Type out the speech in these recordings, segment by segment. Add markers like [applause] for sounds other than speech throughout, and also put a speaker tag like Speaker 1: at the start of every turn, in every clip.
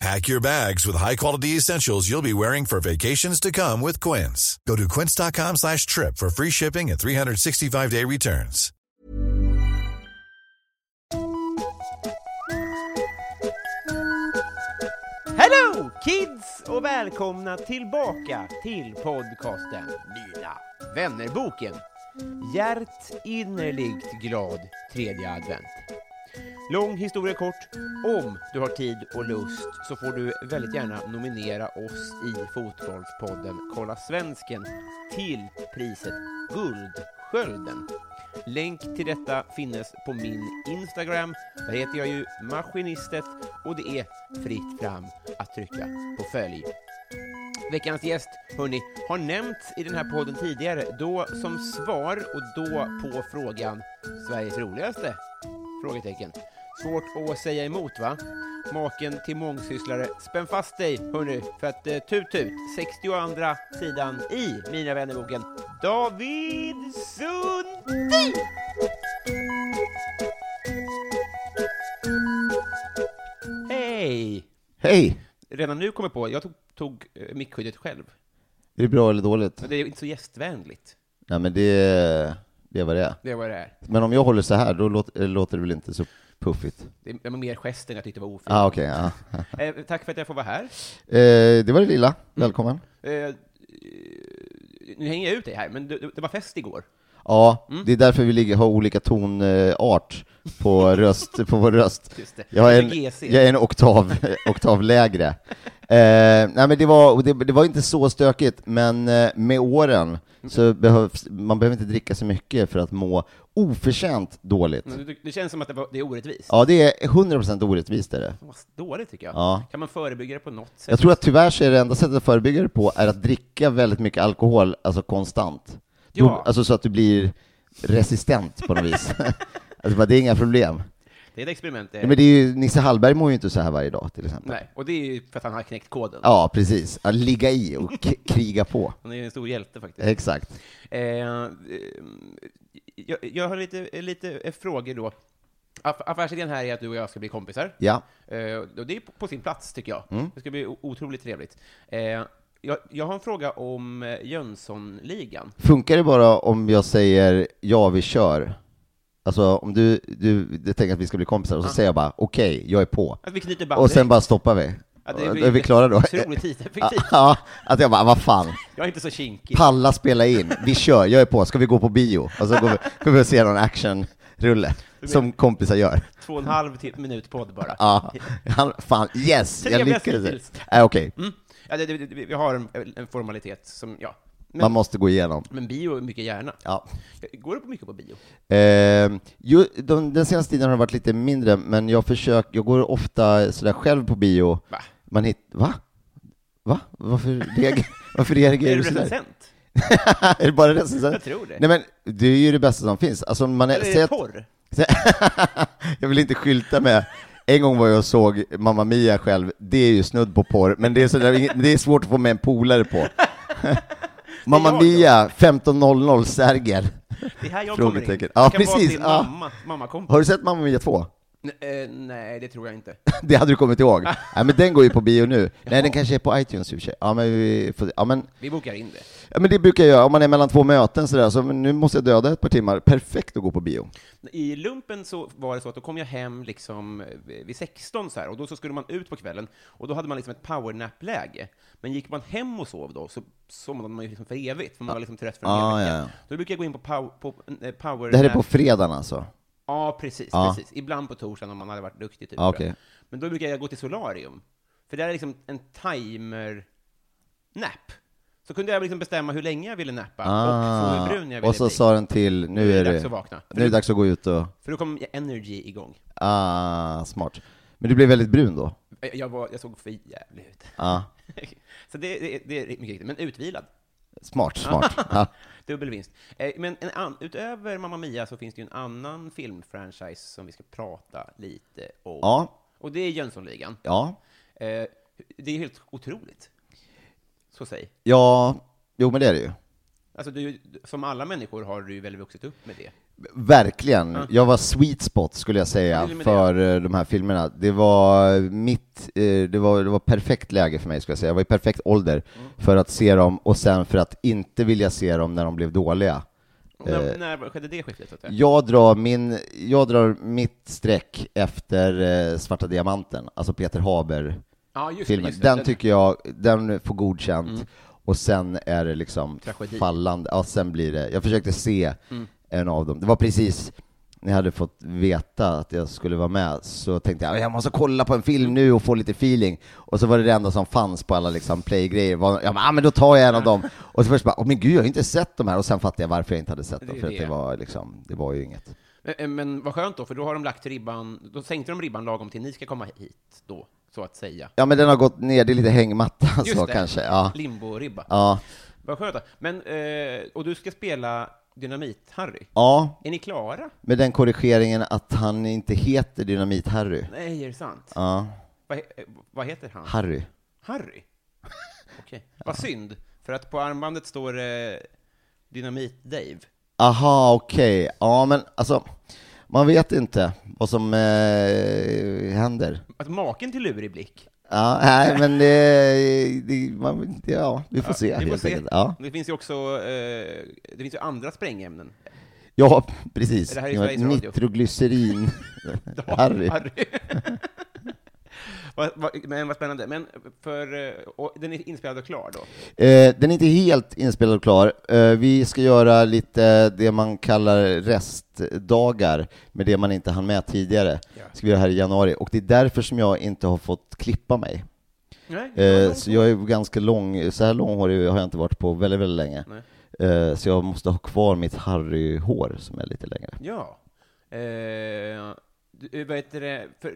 Speaker 1: Pack your bags with high-quality essentials you'll be wearing for vacations to come with Quince. Go to quince.com slash trip for free shipping and 365-day returns.
Speaker 2: Hello kids och välkomna tillbaka till podcasten Mina vännerboken. Hjärt innerligt glad tredje advent. Lång historia kort. Om du har tid och lust så får du väldigt gärna nominera oss i Fotbollspodden Kolla Svensken till priset Guldskölden. Länk till detta finnes på min Instagram. Där heter jag ju Maskinistet och det är fritt fram att trycka på följ. Veckans gäst, hörni, har nämnts i den här podden tidigare, då som svar och då på frågan Sveriges roligaste? Frågetecken. Svårt att säga emot, va? Maken till mångsysslare. Spänn fast dig, hörni, för att eh, tut tut, 62 sidan i Mina vännerboken David Sundin! Hej!
Speaker 3: Hej!
Speaker 2: Redan nu kommer jag på, jag tog, tog eh, mickskyddet själv.
Speaker 3: Är det bra eller dåligt?
Speaker 2: Men det är ju inte så gästvänligt.
Speaker 3: Nej men det, det är vad det är.
Speaker 2: Det är vad det är.
Speaker 3: Men om jag håller så här, då låter, eh, låter det väl inte så puffigt?
Speaker 2: Det är- det var mer gesten jag tyckte var ofint.
Speaker 3: Ah, okej. ja. [laughs]
Speaker 2: Eh, tack för att jag får vara här.
Speaker 3: eh, det var det lilla. Välkommen.
Speaker 2: Eh, eh, nu hänger jag ut dig här, men det, det var fest igår.
Speaker 3: Ja,
Speaker 2: Mm.
Speaker 3: det är därför vi ligger, har olika tonart
Speaker 2: [laughs]
Speaker 3: på, röst, på vår röst.
Speaker 2: Just det.
Speaker 3: Jag är
Speaker 2: Det är
Speaker 3: en,
Speaker 2: GC.
Speaker 3: jag är en oktav,
Speaker 2: [laughs]
Speaker 3: oktav lägre. Eh, nej men det var, och det, det var inte så stökigt, men eh, med åren så behövs, man behöver inte dricka så mycket för att må oförtjänt dåligt.
Speaker 2: Men Det, det känns som att det, var, det är orättvist.
Speaker 3: Ja, det är 100% orättvist är det.
Speaker 2: Vad Dåligt tycker jag.
Speaker 3: Ja.
Speaker 2: Kan man förebygga det på något sätt?
Speaker 3: Jag tror att tyvärr så är det enda sättet att förebygga det på är att dricka väldigt mycket alkohol, alltså konstant.
Speaker 2: Ja.
Speaker 3: Då, alltså så att du blir resistent på
Speaker 2: [laughs]
Speaker 3: något vis. alltså bara, det är inga problem.
Speaker 2: Det är ett experiment. det-
Speaker 3: Nej, Men det är ju, Nisse Hallberg mår ju inte så här varje dag till exempel.
Speaker 2: Nej, och det är ju för att han har knäckt koden.
Speaker 3: Ja, precis. Att ligga i och k- kriga på.
Speaker 2: Han är ju en stor hjälte faktiskt.
Speaker 3: Exakt.
Speaker 2: Eh, eh, jag, jag har lite, lite eh, frågor då. Aff- Affärsidén här är att du och jag ska bli kompisar.
Speaker 3: Ja.
Speaker 2: Eh, och det är på- på sin plats, tycker jag.
Speaker 3: Mm.
Speaker 2: Det ska bli o- otroligt trevligt. Eh, jag, jag har en fråga om eh, Jönssonligan.
Speaker 3: Funkar det bara om jag säger ja, vi kör? Alltså om du, du, du tänker att vi ska bli kompisar och så säger jag bara okej, jag är på.
Speaker 2: Att vi knyter band
Speaker 3: Och sen
Speaker 2: direkt.
Speaker 3: bara stoppar vi.
Speaker 2: Att
Speaker 3: Och
Speaker 2: blir
Speaker 3: är vi klara då? [laughs] Ah.
Speaker 2: Otroligt tidseffektivt.
Speaker 3: Ja, att jag bara, vad fan.
Speaker 2: Jag är inte så kinkig.
Speaker 3: Palla spela in, vi kör, jag är på, ska vi gå på bio? Och så går vi, går vi och ser någon actionrulle, som kompisar gör.
Speaker 2: Två och en halv till, minut podd bara.
Speaker 3: Ja, han, fan, yes, jag
Speaker 2: Trevligast
Speaker 3: lyckades.
Speaker 2: hittills.
Speaker 3: Nej, okej,
Speaker 2: Mm. Ja, det, det, det, vi har en, en formalitet som, ja. Men,
Speaker 3: man måste gå igenom.
Speaker 2: men bio är mycket gärna.
Speaker 3: Ja.
Speaker 2: Går du på mycket på bio?
Speaker 3: Eh, ju, de, den senaste tiden har det varit lite mindre, men jag försöker, jag går ofta sådär själv på bio.
Speaker 2: Va?
Speaker 3: Man hit, va? Va? Varför reagerar, [laughs] varför reagerar
Speaker 2: Är
Speaker 3: du
Speaker 2: du
Speaker 3: sådär?
Speaker 2: recensent?
Speaker 3: [laughs] är det bara recensent?
Speaker 2: Jag tror det.
Speaker 3: Nej men, det är ju det bästa som finns. Alltså, man är,
Speaker 2: Eller är
Speaker 3: säg
Speaker 2: det
Speaker 3: att-
Speaker 2: porr?
Speaker 3: Så- jag vill inte skylta med. En gång var jag och såg Mamma Mia själv, det är ju snudd på porr, men det är, sådär,
Speaker 2: [laughs]
Speaker 3: det är svårt att få med en polare på. Mamma
Speaker 2: Det är jag
Speaker 3: Mia, 15.00 Sergel.
Speaker 2: Det är här jag kommer in.
Speaker 3: Frågetecken. Ja,
Speaker 2: det kan vara
Speaker 3: precis,
Speaker 2: din
Speaker 3: ja.
Speaker 2: mamma, mammakompis.
Speaker 3: Har du sett Mamma Mia 2?
Speaker 2: Eh, nej, det tror jag inte.
Speaker 3: [laughs] Det hade du kommit ihåg. Nej, men den går ju på bio nu. Nej, den kanske är på iTunes i och för sig. Ja, men, vi får, ja, men,
Speaker 2: Vi bokar in det.
Speaker 3: ja, men det brukar jag göra. Om man är mellan två möten sådär, så men nu måste jag döda ett par timmar. Perfekt att gå på bio.
Speaker 2: I lumpen så var det så att då kom jag hem liksom eh, vid 16 så här, och då så skulle man ut på kvällen och då hade man liksom ett powernap-läge. Men gick man hem och sov då så somnade man ju liksom för evigt, för man var liksom trött för en
Speaker 3: Ah,
Speaker 2: hel vecka.
Speaker 3: ja, ja.
Speaker 2: Då brukar jag gå in på, pow, på eh, powernap.
Speaker 3: Det här är på fredagen alltså.
Speaker 2: Ja, precis,
Speaker 3: Ja.
Speaker 2: precis. Ibland på torsdagen om man hade varit duktig. Typ,
Speaker 3: Ja,
Speaker 2: tror jag.
Speaker 3: okej.
Speaker 2: Men då brukar jag gå till solarium, för där är liksom en timer-nap. Så kunde jag liksom bestämma hur länge jag ville nappa och
Speaker 3: Ah.
Speaker 2: så hur brun jag ville
Speaker 3: och så
Speaker 2: bli.
Speaker 3: sa den till, nu är
Speaker 2: dags att
Speaker 3: det,
Speaker 2: vakna.
Speaker 3: nu är det dags att gå ut och,
Speaker 2: För då kom energy igång.
Speaker 3: ah, smart. Men du blev väldigt brun då?
Speaker 2: Eh, Jag, jag, var, jag såg för jävlig ut.
Speaker 3: Ah,
Speaker 2: [laughs] Så det, det, det är mycket riktigt, men utvilad.
Speaker 3: smart, smart.
Speaker 2: [laughs]
Speaker 3: Ja.
Speaker 2: Dubbel vinst. Eh, Men en an, utöver Mamma Mia så finns det ju en annan filmfranchise som vi ska prata lite om.
Speaker 3: Ja.
Speaker 2: Och det är Jönssonligan.
Speaker 3: ja.
Speaker 2: Eh, Det är helt otroligt. Så säg.
Speaker 3: Ja, jo men det är det ju.
Speaker 2: Alltså, du, som alla människor har du väl vuxit upp med det?
Speaker 3: Verkligen. Jag var sweet spot skulle jag
Speaker 2: Ja,
Speaker 3: säga
Speaker 2: det är med
Speaker 3: för eh, de här filmerna. Det var mitt, eh, det var, det var perfekt läge för mig skulle jag säga. Jag var i perfekt ålder
Speaker 2: Mm.
Speaker 3: för att se dem och sen för att inte vilja se dem när de blev dåliga.
Speaker 2: Och När,
Speaker 3: Eh,
Speaker 2: när skedde det skiftet? Så att säga?
Speaker 3: Jag drar, min, jag drar mitt streck efter eh, Svarta Diamanten, alltså Peter Haber-filmen.
Speaker 2: Ja, just det, just det. Mm.
Speaker 3: Den tycker jag, den får godkänt. Och sen är det liksom
Speaker 2: Tragedi. Mm.
Speaker 3: fallande. Ja, sen blir det. Jag försökte se en av dem. Det var precis när jag hade fått veta att jag skulle vara med så tänkte jag jag måste kolla på en film nu och få lite feeling. Och så var det det enda som fanns på alla liksom playgrejer. Var- Jag bara, ah, men då tar jag en av dem.
Speaker 2: [laughs]
Speaker 3: Och så först bara, åh men gud, jag har ju inte sett de här. Och sen fattade jag varför jag inte hade sett
Speaker 2: Det
Speaker 3: dem.
Speaker 2: är
Speaker 3: För att
Speaker 2: det.
Speaker 3: det var liksom, det var ju inget.
Speaker 2: Men- eh, Men vad skönt då, för då har de lagt ribban, då sänkte de ribban lagom till ni ska komma hit då, så att säga.
Speaker 3: Ja men den har gått ner, det är lite hängmatta Alltså, så
Speaker 2: det.
Speaker 3: kanske. Ja.
Speaker 2: Limbo-ribba.
Speaker 3: Ja.
Speaker 2: Vad skönt. Men, eh, och du ska spela Dynamit-Harry.
Speaker 3: ja,
Speaker 2: Är ni klara?
Speaker 3: med den korrigeringen att han inte heter Dynamit-Harry.
Speaker 2: Nej, är det sant?
Speaker 3: Ja,
Speaker 2: Vad, he- eh, vad heter han?
Speaker 3: Harry. [laughs]
Speaker 2: Harry? Okej. Vad synd, för att på armbandet står det Dynamit-Dave.
Speaker 3: Aha, okej. Ja, men alltså, man vet inte vad som eh, händer.
Speaker 2: Alltså, maken till lurig blick.
Speaker 3: Ja, nej, men det, det, man, ja, vi får se
Speaker 2: Vi får
Speaker 3: helt
Speaker 2: se.
Speaker 3: enkelt. Ja.
Speaker 2: Det finns ju också eh, det finns ju andra sprängämnen. [laughs]
Speaker 3: ja, precis.
Speaker 2: Det här är
Speaker 3: Det var
Speaker 2: Sveriges Radio. [laughs]
Speaker 3: Nitroglycerin.
Speaker 2: Ja,
Speaker 3: Harry.
Speaker 2: Harry. [laughs] Vad- vad- Men vad spännande. Men för, eh, och den är inspelad och klar då?
Speaker 3: Eh, den är inte helt inspelad och klar. Eh, vi ska göra lite det man kallar restdagar med det man inte hann med tidigare.
Speaker 2: Ja.
Speaker 3: Ska vi göra här i januari. Och det är därför som jag inte har fått klippa mig.
Speaker 2: Nej,
Speaker 3: Eh, så jag är ganska lång, så här långhårig har jag inte varit på väldigt, väldigt länge. Eh, så jag måste ha kvar mitt Harry-hår som är lite längre.
Speaker 2: Ja. Eh, du, vad heter det? För, eh,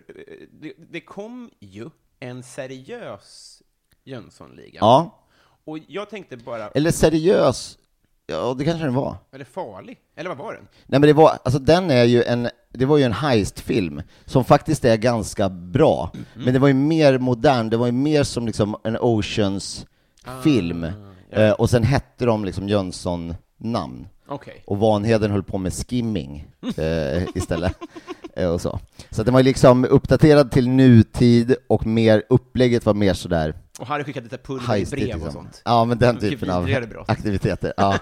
Speaker 2: det, det kom ju en seriös Jönssonliga.
Speaker 3: Ja,
Speaker 2: Och jag tänkte bara,
Speaker 3: eller seriös, ja det kanske den var.
Speaker 2: eller farlig, eller vad var den?
Speaker 3: Nej men det var, alltså den är ju en, det var ju en heistfilm som faktiskt är ganska bra. Men det var ju mer modern, det var ju mer som liksom en Oceans-film. Eh, och sen hette de liksom Jönsson-namn.
Speaker 2: Okej.
Speaker 3: Och Vanheden höll på med skimming eh, istället. eh, och så så att den var ju liksom uppdaterad till nutid och mer, upplägget var mer sådär
Speaker 2: Och Harry skickade lite pulver i
Speaker 3: heistigt.
Speaker 2: brev och
Speaker 3: liksom.
Speaker 2: sånt.
Speaker 3: Ja, men den
Speaker 2: Mycket
Speaker 3: typen av
Speaker 2: vidrigare brott.
Speaker 3: aktiviteter.
Speaker 2: [laughs]
Speaker 3: Ja.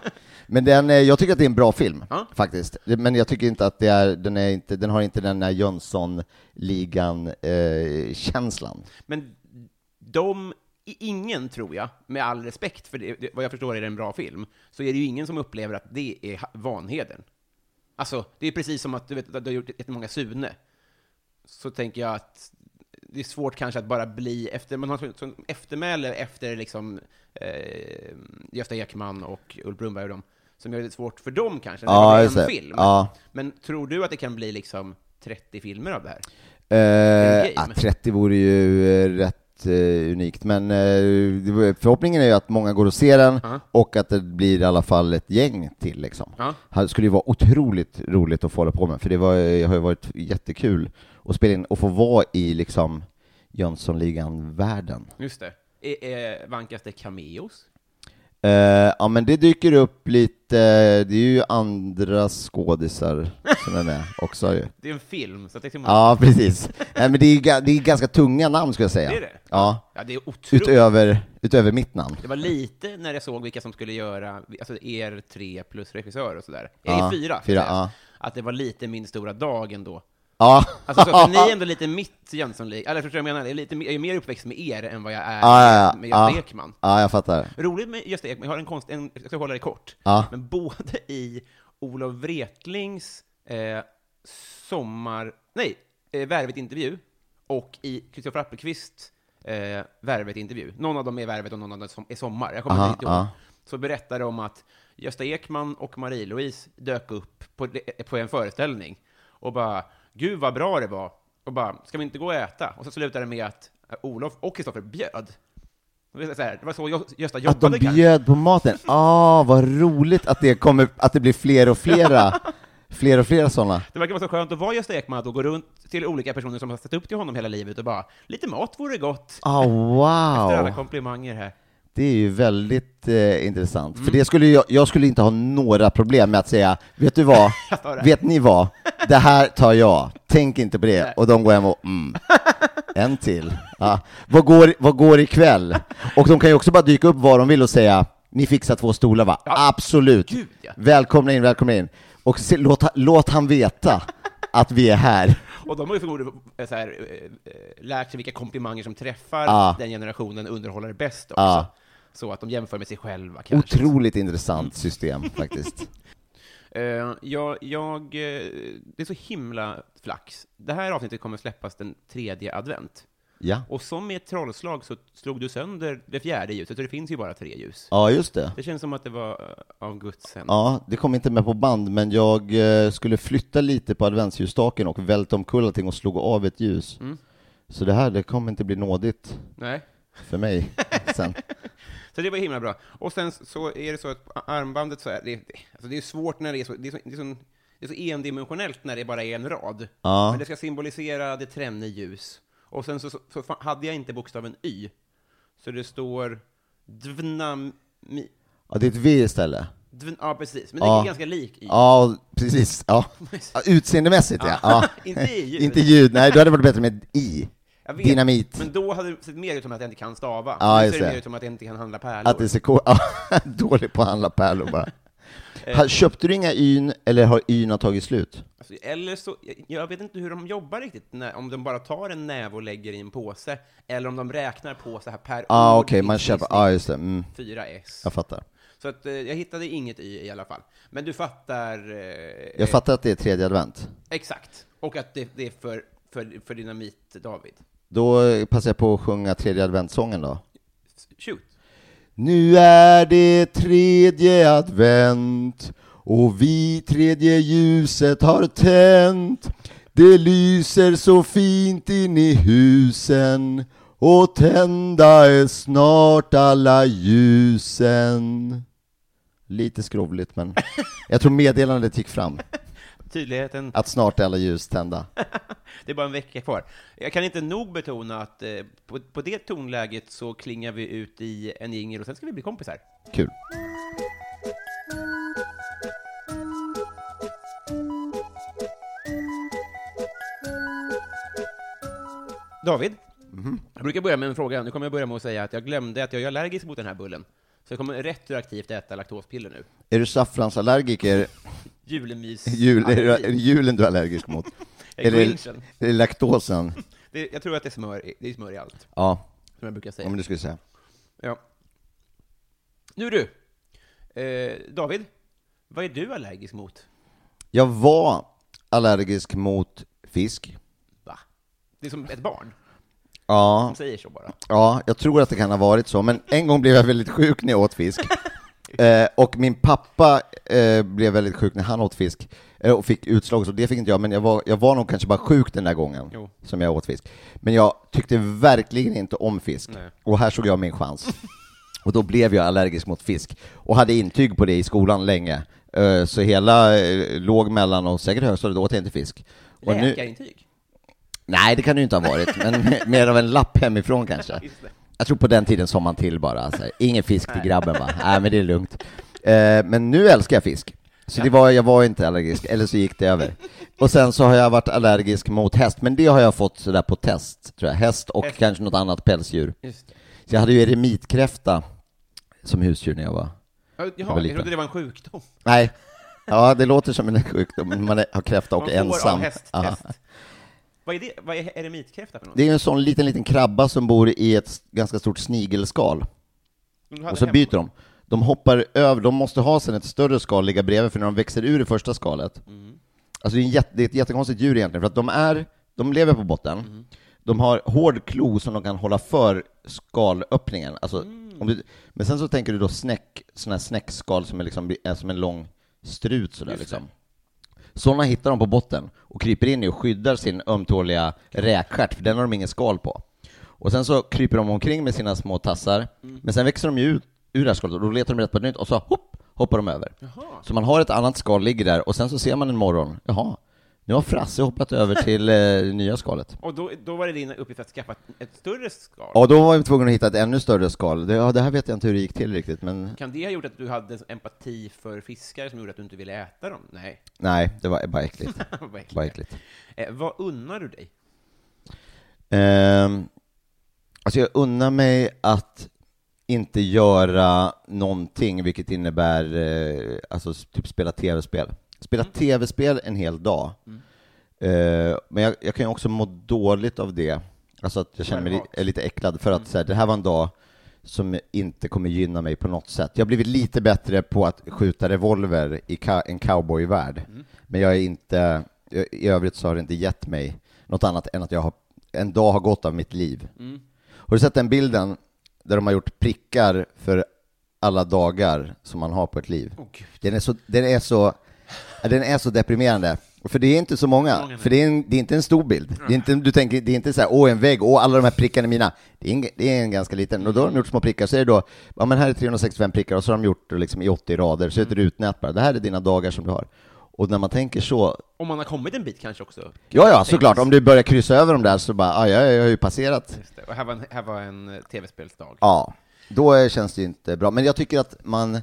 Speaker 3: Men den, eh, jag tycker att det är en bra film,
Speaker 2: Ja.
Speaker 3: faktiskt. Det- Men jag tycker inte att det är, den, är inte, den har inte den här eh, Jönsson-ligan-känslan.
Speaker 2: Men de, i- ingen tror jag, med all respekt för det, det, vad jag förstår är det en bra film, så är det ju ingen som upplever att det är ha- vanheden. Alltså, det är precis som att du, vet, att du har gjort jättemånga Sune. Så tänker jag att det är svårt kanske att bara bli efter, man har så- sån eftermäle efter liksom eh, Gösta Ekman och Ulf Brunnberg och dem, som gör det svårt för dem kanske, när det
Speaker 3: Ja,
Speaker 2: bara är
Speaker 3: just
Speaker 2: en
Speaker 3: det.
Speaker 2: film.
Speaker 3: Ja.
Speaker 2: Men tror du att det kan bli liksom 30 filmer av det här?
Speaker 3: Eh,
Speaker 2: game.
Speaker 3: ja, 30 vore ju eh, rätt eh, unikt, men eh, det var- förhoppningen är ju att många går och ser den
Speaker 2: Ja.
Speaker 3: och att det blir i alla fall ett gäng till. Liksom.
Speaker 2: Ja.
Speaker 3: Det skulle ju vara otroligt roligt att få hålla på med, för det var, eh, har ju varit jättekul att spela in och få vara i liksom, Jönssonligan-världen.
Speaker 2: Just det. Är, är, vankas det cameos?
Speaker 3: Eh, ja, men det dyker upp lite, det är ju andra skådisar som är med [laughs] också ju.
Speaker 2: Det är en film, så att det är typ- till-
Speaker 3: Ja, precis. Nej, men det är, ju ga- det är ganska tunga namn skulle jag säga.
Speaker 2: Det är det?
Speaker 3: Ja,
Speaker 2: ja, det är otroligt.
Speaker 3: utöver, utöver mitt namn.
Speaker 2: Det var lite när jag såg vilka som skulle göra, alltså er tre plus regissör och sådär.
Speaker 3: Ja,
Speaker 2: Ja, fyra.
Speaker 3: fyra,
Speaker 2: ska jag säga.
Speaker 3: ja.
Speaker 2: Att det var lite min stora dag ändå.
Speaker 3: Ja,
Speaker 2: Alltså, så att ni är ändå lite mitt Jönssonlik, eller förstår du vad jag menar? Jag är, lite, jag är mer uppväxt med er än vad jag är
Speaker 3: Ja, ja, ja.
Speaker 2: med Gösta
Speaker 3: Ja.
Speaker 2: Ekman.
Speaker 3: ja jag fattar.
Speaker 2: Roligt med Gösta Ekman, jag har en konst, en, jag ska hålla det kort,
Speaker 3: Ja.
Speaker 2: men både i Olof Wretlings eh, sommar, nej, eh, Värvet-intervju och i Kristoffer Appelqvist eh, Värvet-intervju. Någon av dem är Värvet och någon av dem som- är Sommar, jag kommer
Speaker 3: Aha,
Speaker 2: inte ihåg.
Speaker 3: ja.
Speaker 2: Så berättar de att Gösta Ekman och Marie-Louise dök upp på, på en föreställning och bara ”Gud vad bra det var” och bara ”Ska vi inte gå och äta?” och så slutar det med att eh, Olof och Kristoffer bjöd. Det var så här, det var så Gö- Gösta
Speaker 3: Att de
Speaker 2: jobbade kanske.
Speaker 3: bjöd på maten. Ah, vad roligt att det, kommer, att det blir fler
Speaker 2: [laughs]
Speaker 3: och flera, fler och flera sådana.
Speaker 2: Det verkar vara så skönt att vara Gösta Ekman och gå runt till olika personer som har sett upp till honom hela livet och bara ”lite mat vore gott”
Speaker 3: Ah,
Speaker 2: efter alla
Speaker 3: wow.
Speaker 2: komplimanger här.
Speaker 3: Det är ju väldigt eh, intressant.
Speaker 2: Mm.
Speaker 3: För det skulle jag, jag skulle inte ha några problem med att säga, vet
Speaker 2: [laughs]
Speaker 3: du vad,
Speaker 2: tar det."
Speaker 3: vet ni vad, det här tar jag, tänk inte på det. Och de går hem och, mm, en till. Ja. Vad, går, vad går ikväll? Och de kan ju också bara dyka upp var de vill och säga, ni fixar två stolar va? Absolut.
Speaker 2: Gud, ja.
Speaker 3: Välkomna in, välkomna in. Och se, låt, ha- låt han veta att vi är här.
Speaker 2: Och de har ju förmodligen eh, så här, eh, eh, lärt sig vilka komplimanger som träffar
Speaker 3: Ja.
Speaker 2: den generationen underhållare bäst också.
Speaker 3: Ja.
Speaker 2: Så att de jämför med sig själva kanske.
Speaker 3: Otroligt intressant system faktiskt.
Speaker 2: Eh, jag, jag, eh, det är så himla flax. Det här avsnittet kommer släppas den tredje advent.
Speaker 3: Ja,
Speaker 2: Och som i ett trollslag så slog du sönder det fjärde ljuset, så det finns ju bara tre ljus.
Speaker 3: ja just det.
Speaker 2: Det känns som att det var eh, av Guds sänd.
Speaker 3: Ja, det kom inte med på band, men jag eh, skulle flytta lite på adventsljusstaken och välta omkull allting och slog av ett ljus.
Speaker 2: Mm.
Speaker 3: Så det här, det kommer inte bli nådigt
Speaker 2: Nej. [laughs]
Speaker 3: för mig sen.
Speaker 2: Så det var himla bra. Och sen så är det så att armbandet så är, det, det- alltså det är svårt när det är så, det är så, det är så, det är så endimensionellt när det bara är en rad.
Speaker 3: Ja.
Speaker 2: Men det ska symbolisera det tränne ljus. Och sen så, så, så fa- hade jag inte bokstaven Y. Så det står dvnami,
Speaker 3: Ja, det är ett V istället.
Speaker 2: dvn, ja precis, men det
Speaker 3: Ja.
Speaker 2: är ganska lik Y.
Speaker 3: Ja, precis. Ja.
Speaker 2: [laughs]
Speaker 3: Ja, Utseendemässigt ja. ja.
Speaker 2: Inte i ljud.
Speaker 3: Inte ljud. Nej, då hade det varit bättre med I.
Speaker 2: Jag vet,
Speaker 3: Dynamit.
Speaker 2: Men då hade det sett mer ut som att jag inte kan stava.
Speaker 3: Ja,
Speaker 2: nu
Speaker 3: just
Speaker 2: ser det
Speaker 3: det.
Speaker 2: mer ut som att jag inte kan handla pärlor.
Speaker 3: Att det är så cool. ja, [laughs] Dålig på att handla pärlor bara.
Speaker 2: Eh.
Speaker 3: Ha- Köpte du inga yn, eller har yna tagit slut?
Speaker 2: Alltså, eller så, jag- jag vet inte hur de jobbar riktigt, när, om de bara tar en näve och lägger i en påse, eller om de räknar på så här per
Speaker 3: Ja, ah, okej, man köper, ja
Speaker 2: ah,
Speaker 3: just det. Mm,
Speaker 2: 4S.
Speaker 3: jag fattar.
Speaker 2: Så att, eh, jag hittade inget i i alla fall. Men du fattar... Eh,
Speaker 3: Jag fattar att det är tredje advent.
Speaker 2: Exakt. Och att det, det är för, för, för Dynamit-David.
Speaker 3: Då passar jag på att sjunga tredje adventssången då.
Speaker 2: Shoot.
Speaker 3: Nu är det tredje advent och vi tredje ljuset har tänt. Det lyser så fint in i husen och tända är snart alla ljusen. Lite skrovligt, men jag tror meddelandet gick fram.
Speaker 2: Tydligheten.
Speaker 3: Att snart är alla ljus tända.
Speaker 2: Det är bara en vecka kvar. Jag kan inte nog betona att eh, på, på det tonläget så klingar vi ut i en jingel och sen ska vi bli kompisar.
Speaker 3: Kul.
Speaker 2: David,
Speaker 3: Mhm.
Speaker 2: jag brukar börja med en fråga. Nu kommer jag börja med att säga att jag glömde att jag är allergisk mot den här bullen. Så jag kommer retroaktivt äta laktospiller nu.
Speaker 3: Är du saffransallergiker?
Speaker 2: Julemys...
Speaker 3: Jul, är, det, [laughs] är det
Speaker 2: allergi.
Speaker 3: julen du är allergisk mot?
Speaker 2: Jag är
Speaker 3: Är det,
Speaker 2: grinchen.
Speaker 3: är det laktosen?
Speaker 2: det, jag tror att det är, smör, i- det är smör i allt,
Speaker 3: Ja,
Speaker 2: som jag brukar säga.
Speaker 3: om du skulle säga.
Speaker 2: Ja. Nu du, eh, David, vad är du allergisk mot?
Speaker 3: Jag var allergisk mot fisk.
Speaker 2: Va? Det är som ett barn
Speaker 3: [laughs] Ja,
Speaker 2: som säger så bara.
Speaker 3: ja, jag tror att det kan ha varit så, men en gång blev jag väldigt sjuk när jag
Speaker 2: [laughs]
Speaker 3: åt fisk. Eh, och min pappa eh, blev väldigt sjuk när han åt fisk eh, och fick utslag, så det fick inte jag, men jag var, jag var nog kanske bara sjuk den där gången
Speaker 2: Jo.
Speaker 3: som jag åt fisk. Men jag tyckte verkligen inte om fisk,
Speaker 2: Nej.
Speaker 3: och här såg jag min chans. Och då blev jag allergisk mot fisk och hade intyg på det i skolan länge. Eh, Så hela eh, låg mellan och säkert högstadiet åt jag inte fisk. Och nu-
Speaker 2: Läkarintyg? [laughs]
Speaker 3: Nej, det kan det ju inte ha varit, men mer av en lapp hemifrån kanske.
Speaker 2: Just det.
Speaker 3: Jag tror på den tiden sa man till bara, så här, ingen fisk till grabben va? Nej men det är lugnt. Eh, men nu älskar jag fisk. Så det var, jag var inte allergisk, eller så gick det över. Och sen så har jag varit allergisk mot häst, men det har jag fått sådär på test, tror jag. Häst och
Speaker 2: Häst.
Speaker 3: kanske något annat pälsdjur.
Speaker 2: Just det.
Speaker 3: Så jag hade ju eremitkräfta som husdjur när jag var...
Speaker 2: Ja,
Speaker 3: var
Speaker 2: Jaha, jag
Speaker 3: liten.
Speaker 2: trodde det var en sjukdom.
Speaker 3: Nej. Ja, det låter som en sjukdom, men man är- har kräfta och
Speaker 2: Man
Speaker 3: är
Speaker 2: får
Speaker 3: ensam.
Speaker 2: av hästtest.
Speaker 3: Ja.
Speaker 2: Vad är det? Vad är eremitkräfta för något?
Speaker 3: Det är ju en sån liten, liten krabba som bor i ett s- ganska stort snigelskal.
Speaker 2: De hade
Speaker 3: Och så
Speaker 2: hemma.
Speaker 3: byter de. De hoppar över, de måste ha sen ett större skal ligga bredvid, för när de växer ur det första skalet,
Speaker 2: Mm.
Speaker 3: alltså det är, en jätte, det är ett jättekonstigt djur egentligen, för att de är, de lever på botten,
Speaker 2: Mm.
Speaker 3: de har hård klo som de kan hålla för skalöppningen, alltså,
Speaker 2: Mm.
Speaker 3: om du, men sen så tänker du då snäck, sådana här snäckskal som är, liksom, är som en lång strut sådär
Speaker 2: Just det.
Speaker 3: liksom. Sådana hittar de på botten och kryper in i och skyddar sin ömtåliga räkstjärt, för den har de ingen skal på. Och sen så kryper de omkring med sina små tassar, men sen växer de ju ut ur det här skalet och då letar de rätt på ett nytt och så hopp, hoppar de över. Så man har ett annat skal ligger där och sen så ser man en morgon, jaha, nu har Frasse hoppat över till eh, det nya skalet.
Speaker 2: Och då, då var det din uppgift att skaffa ett- ett större skal?
Speaker 3: Ja, då var vi tvungna att hitta ett ännu större skal. Det, ja, det här vet jag inte hur det gick till riktigt, men
Speaker 2: Kan det ha gjort att du hade en empati för fiskar som gjorde att du inte ville äta dem? Nej. [laughs]
Speaker 3: nej, det var bara äckligt.
Speaker 2: vad äckligt.
Speaker 3: Bara äckligt.
Speaker 2: Eh, vad unnar du dig?
Speaker 3: Ehm, alltså jag unnar mig att inte göra någonting, vilket innebär eh, alltså s- typ spela tv-spel. Spela tv-spel en hel dag. Eh, men jag, jag kan ju också må dåligt av det. Alltså att jag känner mig li-
Speaker 2: Självhat.
Speaker 3: är lite äcklad för att
Speaker 2: Mm.
Speaker 3: så här, det här var en dag som inte kommer gynna mig på något sätt. Jag har blivit lite bättre på att skjuta revolver i ca- en cowboyvärld,
Speaker 2: Mm.
Speaker 3: men jag är inte, jag- i övrigt så har det inte gett mig något annat än att jag har, en dag har gått av mitt liv.
Speaker 2: Mm.
Speaker 3: Har du sett den bilden där de har gjort prickar för alla dagar som man har på ett liv?
Speaker 2: Åh, gud.
Speaker 3: Den är så, den är så, ja, den är så deprimerande. Och För det är inte så många,
Speaker 2: Många nu.
Speaker 3: för det är, en, det är inte en stor bild. Det är inte, du tänker, det är inte så här, åh en vägg, åh alla de här prickarna är mina. Det är, en, det är en ganska liten, och då har de gjort små prickar, så är det då, ja men här är 365 prickar, och så har de gjort det liksom i 80 rader, så är det
Speaker 2: Mm.
Speaker 3: ett rutnät bara. Det här är dina dagar som du har. Och när man tänker så,
Speaker 2: Om man har kommit en bit kanske också?
Speaker 3: ja ja såklart, om du börjar kryssa över dem där så bara, "Ah, ja jag, jag har ju passerat
Speaker 2: Just det. Och här var en, här var en eh, tv-spelsdag.
Speaker 3: Ja, då eh, känns det ju inte bra. Men jag tycker att man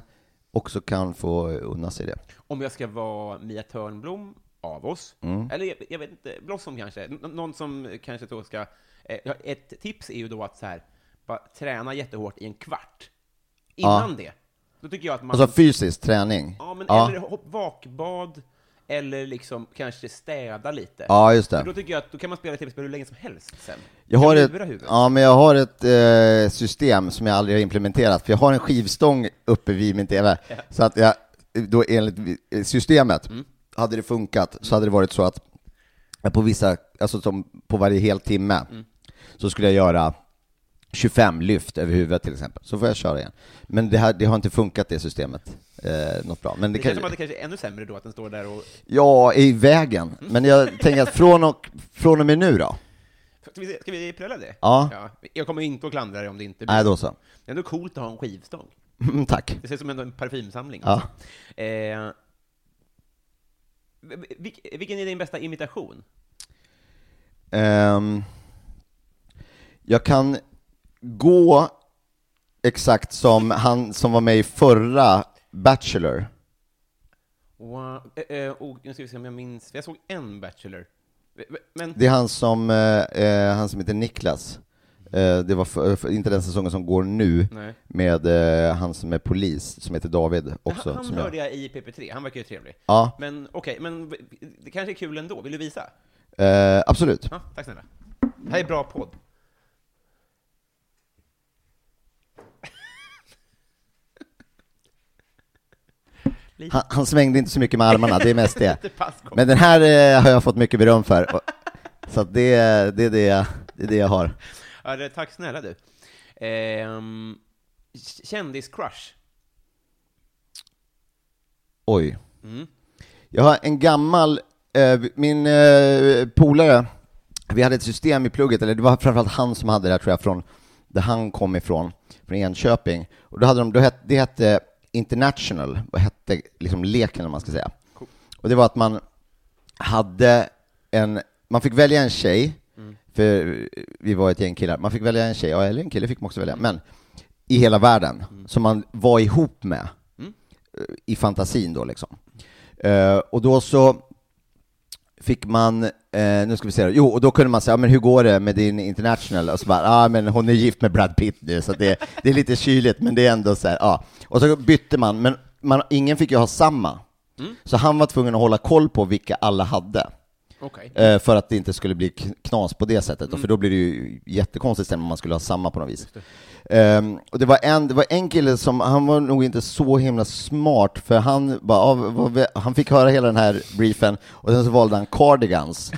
Speaker 3: också kan få unna sig det.
Speaker 2: Om jag ska vara Mia Törnblom av oss,
Speaker 3: Mm.
Speaker 2: eller jag, jag vet inte, Blossom kanske, N- någon som kanske då ska... Eh, ja, ett tips är ju då att så här, bara träna jättehårt i en kvart innan det. Då tycker jag att man...
Speaker 3: Alltså fysisk träning.
Speaker 2: Ja, men
Speaker 3: ja.
Speaker 2: eller hopp- vakbad, eller liksom kanske städa lite.
Speaker 3: Ja, just
Speaker 2: För
Speaker 3: det.
Speaker 2: då tycker jag att då kan man spela tv-spel hur länge som helst sen.
Speaker 3: Jag
Speaker 2: Kan
Speaker 3: har
Speaker 2: lura
Speaker 3: ett,
Speaker 2: huvudet.
Speaker 3: ja, men jag har ett eh, system som jag aldrig har implementerat, för jag har en skivstång uppe vid min TV, så att jag, då enligt eh, systemet,
Speaker 2: Mm.
Speaker 3: hade det funkat så hade det varit så att jag på vissa, alltså som på varje hel timme,
Speaker 2: Mm.
Speaker 3: så skulle jag göra 25 lyft över huvudet till exempel, så får jag köra igen. Men det, här, det har inte funkat det systemet, eh, något bra. Men det,
Speaker 2: Det
Speaker 3: kan,
Speaker 2: känns som att det kanske är ännu sämre då att Mm. den står där och...
Speaker 3: Ja, i vägen. Men jag tänker att från och, från och med
Speaker 2: [laughs]
Speaker 3: nu då?
Speaker 2: Ska vi, se- ska vi pröva det?
Speaker 3: Ja.
Speaker 2: Jag kommer inte att klandra dig om det inte blir...
Speaker 3: Nej, då så.
Speaker 2: Det är ändå coolt att ha en skivstång.
Speaker 3: Mm, tack.
Speaker 2: Det ser ut som en- en parfymsamling.
Speaker 3: Ja.
Speaker 2: alltså. Eh, vil- vilken är din bästa imitation?
Speaker 3: Ehm, jag kan gå exakt som han som var med i förra Bachelor.
Speaker 2: Wow. Eh, eh, och, nu ska vi se om jag minns. Jag såg en Bachelor. Men,
Speaker 3: Det är han som, eh, eh, han som heter Niklas. Eh, det var för, för, inte den säsongen som går nu,
Speaker 2: nej.
Speaker 3: med eh, han som är polis, som heter David också.
Speaker 2: han
Speaker 3: som
Speaker 2: han
Speaker 3: jag-
Speaker 2: hörde jag i PP3, han verkar ju trevlig.
Speaker 3: Ja,
Speaker 2: Men okej, men v- det kanske är kul ändå. Vill du visa?
Speaker 3: eh, absolut.
Speaker 2: Ja, tack snälla. Det här är bra podd.
Speaker 3: Han, han svängde inte så mycket med armarna, det är mest det.
Speaker 2: [laughs] Lite passkort.
Speaker 3: Men den här eh, har jag fått mycket beröm för. Och, så att det, det, är det, jag- det är det jag har.
Speaker 2: Ja, det, tack snälla du. Ehm, k- Kändiscrush.
Speaker 3: Oj. Jag har en gammal, eh, min eh, polare, vi hade ett system i plugget, eller det var framförallt han som hade det här tror jag, från där han kom ifrån, från Enköping. Och då hade de, då het, det hette International, vad hette liksom leken eller vad man ska säga. Och det var att man hade en, man fick välja en tjej För vi var ett gäng killar. Man fick välja en tjej, ja, eller en kille fick man också välja. Men i hela världen, som man var ihop med eh, i fantasin då liksom. Eh, och då så fick man, eh, nu ska vi se, då. jo, och då kunde man säga, ja, men hur går det med din international? Och så bara, ah, men hon är gift med Brad Pitt nu, så att det, det är lite kyligt, men det är ändå så här, ja. Och så bytte man, men man, ingen fick ju ha samma. Så han var tvungen att hålla koll på vilka alla hade.
Speaker 2: Okej.
Speaker 3: Eh, För att det inte skulle bli k- knas på det sättet,
Speaker 2: Mm.
Speaker 3: och för då blir det ju jättekonstigt sen om man skulle ha samma på något vis. Ehm, och det var, en, det var en kille som, han var nog inte så himla smart, för han, bara, ah, vad vi- han fick höra hela den här briefen, och sen så valde han
Speaker 2: [laughs]
Speaker 3: cardigans.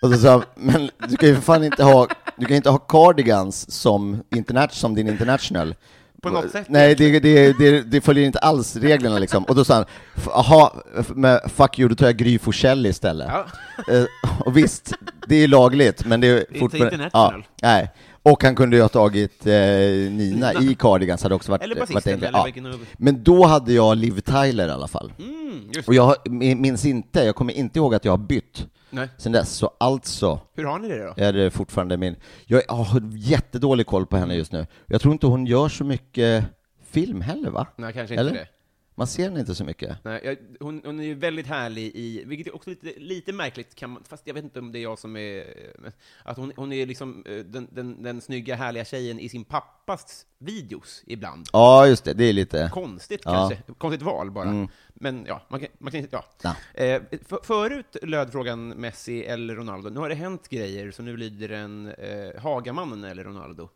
Speaker 3: och så sa han, men du kan ju för fan inte ha, du kan inte ha cardigans som, interna- som din international.
Speaker 2: På något sätt.
Speaker 3: Nej, det, det, det, det följer inte alls reglerna liksom. Och då sa han, "F- jaha, f- men fuck you, då tar jag Gry Forssell istället.
Speaker 2: Ja.
Speaker 3: Eh, och visst, det är lagligt, men det är
Speaker 2: inte
Speaker 3: fortfarande...
Speaker 2: international.
Speaker 3: Ja, nej. Och han kunde ju ha tagit eh, Nina
Speaker 2: [laughs]
Speaker 3: i Cardigans, hade också varit...
Speaker 2: Eller
Speaker 3: varit
Speaker 2: basisten,
Speaker 3: enklare.
Speaker 2: eller vilken av-
Speaker 3: Men då hade jag Liv Tyler i alla fall.
Speaker 2: Mm,
Speaker 3: och jag har- minns inte, jag kommer inte ihåg att jag har bytt
Speaker 2: Nej.
Speaker 3: sen dess, så alltså
Speaker 2: Hur har ni det då?
Speaker 3: är det fortfarande min... Jag har jättedålig koll på henne just nu. Jag tror inte hon gör så mycket film heller, va?
Speaker 2: Nej, kanske inte det.
Speaker 3: Man ser henne inte så mycket.
Speaker 2: Nej, jag, hon, hon är ju väldigt härlig i, vilket är också lite, lite märkligt, kan man, fast jag vet inte om det är jag som är... men Att hon, hon är liksom eh, den, den, den snygga, härliga tjejen i sin pappas videos ibland.
Speaker 3: Ja, just det, det är lite...
Speaker 2: Konstigt
Speaker 3: Ja. Mm.
Speaker 2: kanske, konstigt val bara. Men ja, man kan, man kan ja.
Speaker 3: Ja.
Speaker 2: Eh, för, förut löd frågan Messi eller Ronaldo. Nu har det hänt grejer, så nu lyder den eh, Hagamannen eller Ronaldo.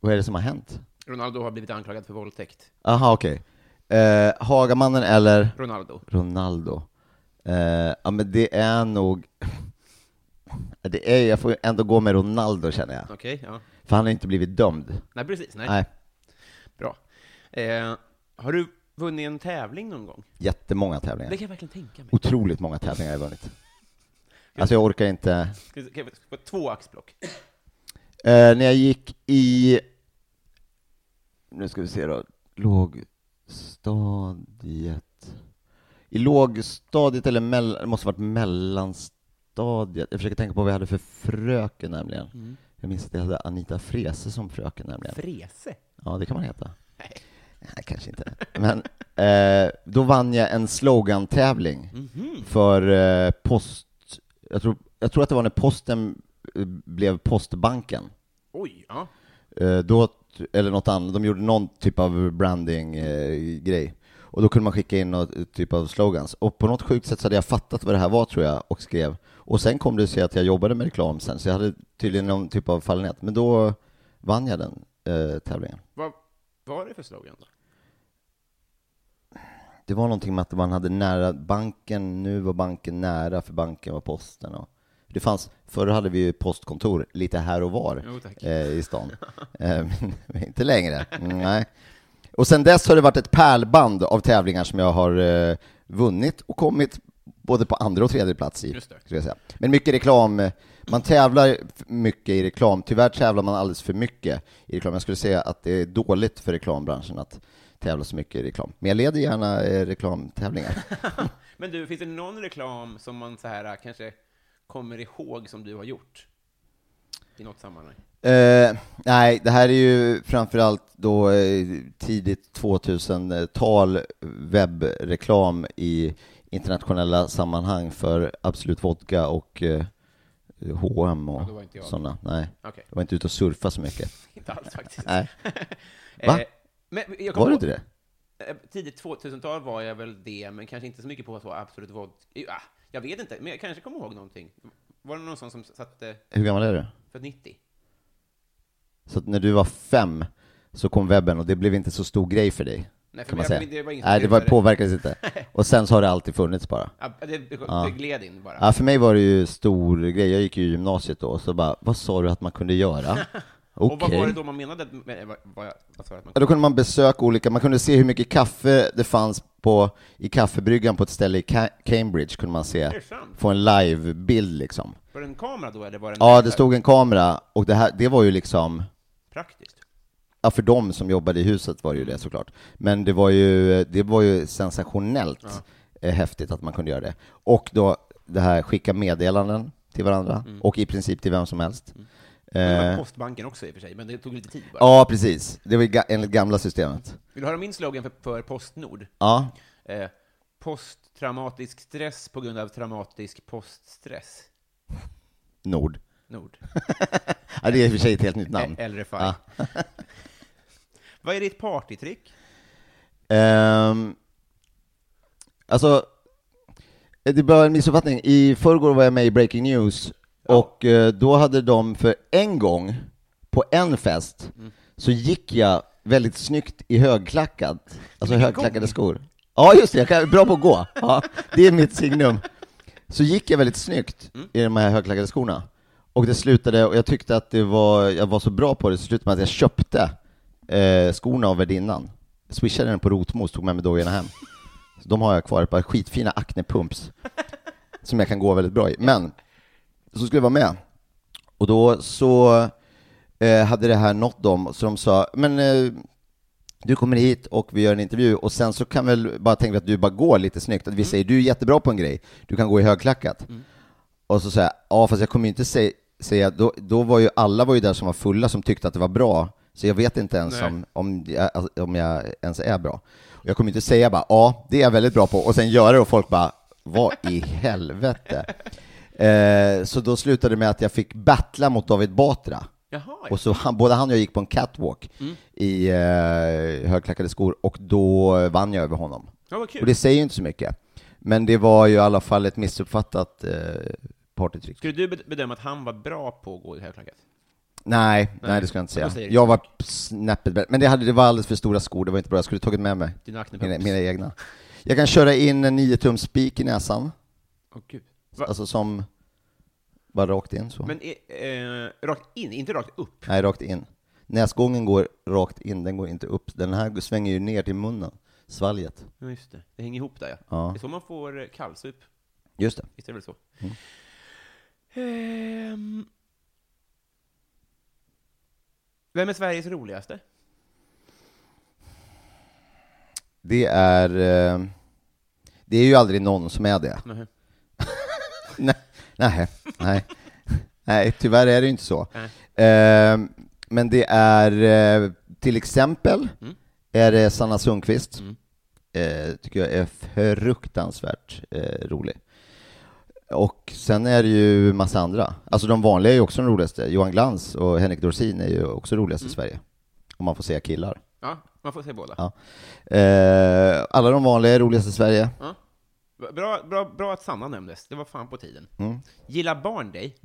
Speaker 3: Vad är det som har hänt?
Speaker 2: Ronaldo har blivit anklagad för våldtäkt.
Speaker 3: Aha, okej. Eh, Hagamannen eller
Speaker 2: Ronaldo.
Speaker 3: Ronaldo? Eh, ja, men det är nog... [laughs] Det är, jag får ändå gå med Ronaldo känner jag,
Speaker 2: Okej, ja.
Speaker 3: för han har inte blivit dömd.
Speaker 2: Nej, precis. Nej.
Speaker 3: Nej,
Speaker 2: Bra. Eh, har du vunnit en tävling någon gång?
Speaker 3: jättemånga
Speaker 2: Det
Speaker 3: tävlingar.
Speaker 2: kan jag verkligen tänka mig.
Speaker 3: Otroligt många tävlingar har jag vunnit. Alltså jag orkar inte.
Speaker 2: Ska vi- Kan jag få två axplock?
Speaker 3: Eh, när jag gick i, nu ska vi se då, lågstadiet. I lågstadiet eller mellan, det måste ha varit mellanstadiet. Jag försöker tänka på vad vi hade för fröken nämligen. Jag minns att jag hade Anita Frese som fröken nämligen.
Speaker 2: Frese?
Speaker 3: Ja, det kan man heta. Nej, kanske inte. Men eh, då vann jag en slogantävling för eh, post... Jag tror, jag tror att det var när posten eh, blev Postbanken.
Speaker 2: Oj, ja.
Speaker 3: Eh, då, eller något annat, de gjorde någon typ av branding-grej. och då kunde man skicka in någon typ av slogans. Och på något sjukt sätt så hade jag fattat vad det här var tror jag, och skrev. Och sen kom det sig att jag jobbade med reklam sen, så jag hade tydligen någon typ av fallenhet. Men då vann jag den eh, tävlingen.
Speaker 2: Vad var det för slogan då?
Speaker 3: Det var någonting med att man hade nära banken, nu var banken nära för banken var posten och det fanns, förr hade vi ju postkontor lite här och var
Speaker 2: Jo, tack.
Speaker 3: eh, i stan. Eh, [laughs] men inte längre, Mm, nej. Och sen dess har det varit ett pärlband av tävlingar som jag har eh, vunnit och kommit både på andra och tredje plats i.
Speaker 2: Just det.
Speaker 3: skulle jag säga. Men mycket reklam, eh, man tävlar f- mycket i reklam. Tyvärr tävlar man alldeles för mycket i reklam. Jag skulle säga att det är dåligt för reklambranschen att tävla så mycket i reklam. Men jag leder gärna eh, reklamtävlingar.
Speaker 2: Men du, finns det någon reklam som man så här äh, kanske kommer ihåg som du har gjort? I något sammanhang?
Speaker 3: Eh, nej, det här är ju framförallt då eh, tidigt 2000-tal webbreklam i internationella sammanhang för Absolut Vodka och eh, H&M
Speaker 2: Ja, då var
Speaker 3: och
Speaker 2: inte jag.
Speaker 3: sådana. Nej,
Speaker 2: Okej,
Speaker 3: [laughs] jag var inte ute och surfa så mycket.
Speaker 2: inte alls faktiskt. [laughs]
Speaker 3: Nej.
Speaker 2: Eh,
Speaker 3: Va?
Speaker 2: Men jag
Speaker 3: Var
Speaker 2: kommer
Speaker 3: du
Speaker 2: ihåg-
Speaker 3: inte det?
Speaker 2: Eh, Tidigt 2000-tal var jag väl det, men kanske inte så mycket på så absolut vodka. Eh, ah, Jag vet inte, men jag kanske kommer ihåg någonting. Var det någon sån som satte
Speaker 3: Hur gammal är du?
Speaker 2: för 90?
Speaker 3: Så att när du var fem så kom webben och det blev inte så stor grej för dig?
Speaker 2: Nej, för
Speaker 3: kan man
Speaker 2: jag-
Speaker 3: säga.
Speaker 2: men det var ingen som
Speaker 3: nej, det var,
Speaker 2: brukade. [laughs]
Speaker 3: påverkades inte. Och sen så har det alltid funnits bara.
Speaker 2: Ah, det, det, det gled in bara.
Speaker 3: Ja, för mig var det ju stor grej. Jag gick ju i gymnasiet då, och så bara, vad sa du att man kunde göra?
Speaker 2: [laughs] Och vad
Speaker 3: Okej.
Speaker 2: var det då man menade? att- Med, vad, vad, jag- vad sa jag att man,
Speaker 3: Ja, Då kunde man besöka olika, man kunde se hur mycket kaffe det fanns på, i kaffebryggan på ett ställe i Ca- Cambridge, kunde man se.
Speaker 2: det sant?
Speaker 3: Få en livebild liksom.
Speaker 2: Var det en kamera då, eller var det en
Speaker 3: Ja, det stod en kamera, och det, här, det var ju liksom,
Speaker 2: praktiskt?
Speaker 3: ja, för de som jobbade i huset var det ju det såklart. Men det var ju, det var ju sensationellt eh, häftigt att man kunde göra det. Och då det här skicka meddelanden till varandra
Speaker 2: Mm.
Speaker 3: och i princip till vem som helst.
Speaker 2: Det var
Speaker 3: Eh,
Speaker 2: postbanken också i och för sig, men det tog lite tid bara.
Speaker 3: ja, precis. Det var ju ga- enligt gamla systemet.
Speaker 2: Vill du höra min slogan för, för Postnord?
Speaker 3: Ja,
Speaker 2: Eh, posttraumatisk stress på grund av traumatisk poststress.
Speaker 3: Nord.
Speaker 2: Nord.
Speaker 3: Ja, det är i och för sig ett helt
Speaker 2: [laughs]
Speaker 3: nytt namn.
Speaker 2: Eh, LRFI.
Speaker 3: Ja.
Speaker 2: Vad är ditt partytrick?
Speaker 3: Ehm, alltså, det var en missuppfattning. I förrgår var jag med i Breaking News, och eh, då hade de för en gång, på en fest, så gick jag väldigt snyggt i högklackat, alltså högklackade skor. Ja, just det, jag kan, bra på att gå. Ja, det är mitt signum. Så gick jag väldigt snyggt i de här högklackade skorna. Och det slutade, och jag tyckte att det var, jag var så bra på det, så slutade med att jag köpte eh, skorna av värdinnan. Swishade den på Rotmos, tog med mig dojorna hem. Så de har jag kvar, ett par skitfina Acne Pumps. Som jag kan gå väldigt bra i. Men, så skulle jag vara med. Och då så eh, hade det här nått dem, så de sa, men eh, du kommer hit och vi gör en intervju och sen så kan väl bara tänka att du bara går lite snyggt, att vi säger du är jättebra på en grej, du kan gå i högklackat. Och så säger jag, ja fast jag kommer ju inte säga, säga då, då var ju alla var ju där som var fulla som tyckte att det var bra, så jag vet inte ens om, om, jag, alltså, om jag ens är bra. Och jag kommer inte säga bara, ja det är jag väldigt bra på, och sen göra det och folk bara, vad i helvete? eh, så då slutade det med att jag fick battla mot David Batra.
Speaker 2: Jaha, Mm.
Speaker 3: Och så han, både han och jag gick på en catwalk i eh, högklackade skor och då vann jag över honom.
Speaker 2: ja, vad kul.
Speaker 3: Och det säger ju inte så mycket. Men det var ju i alla fall ett missuppfattat eh, partytrick.
Speaker 2: Skulle du bed- bedöma att han var bra på att gå i högklackat?
Speaker 3: Nej, nej,
Speaker 2: Nej,
Speaker 3: det skulle jag inte
Speaker 2: men då
Speaker 3: säga.
Speaker 2: säger det
Speaker 3: Jag var snäppet bättre. Men det, hade, det var alldeles för stora skor, det var inte bra. Jag skulle tagit med mig
Speaker 2: Dina acnepumps?
Speaker 3: mina, mina egna. Jag kan köra in en 9 spik i näsan,
Speaker 2: Åh, gud. Va?
Speaker 3: alltså som bara rakt in så.
Speaker 2: Men eh, eh, rakt in, inte rakt upp?
Speaker 3: Nej, rakt in. Näsgången går rakt in, den går inte upp. Den här svänger ju ner till munnen, svalget.
Speaker 2: Ja, just det. Det hänger ihop där, ja.
Speaker 3: Ja.
Speaker 2: Det är så man får eh, kallsup.
Speaker 3: Just det.
Speaker 2: Visst är det väl så?
Speaker 3: Mm.
Speaker 2: Ehm. Vem är Sveriges roligaste?
Speaker 3: Det är... eh, Det är ju aldrig någon som är det.
Speaker 2: Nähä.
Speaker 3: nej, nej, nej. nej, tyvärr är det ju inte så.
Speaker 2: Nej.
Speaker 3: Eh, Men det är eh, till exempel är det Sanna Sundqvist. Eh, Tycker jag är fruktansvärt eh, rolig. Och sen är det ju massa andra. Alltså de vanliga är ju också de roligaste. Johan Glans och Henrik Dorsin är ju också roligast i Sverige. Om man får säga killar.
Speaker 2: Ja, man får säga båda.
Speaker 3: Ja. Eh, alla de vanliga är roligast i Sverige.
Speaker 2: Va- Bra, bra, bra att Sanna nämndes, det var fan på tiden.
Speaker 3: Mm.
Speaker 2: Gillar barn dig?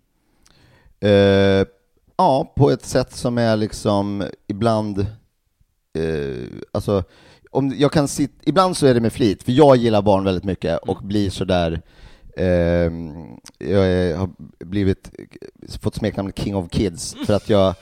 Speaker 3: Eh, ja, på ett sätt som är liksom ibland... Eh, alltså, om jag kan sit, ibland så är det med flit, för jag gillar barn väldigt mycket och blir sådär... Eh, jag är, har blivit, fått smeknamnet King of Kids för att jag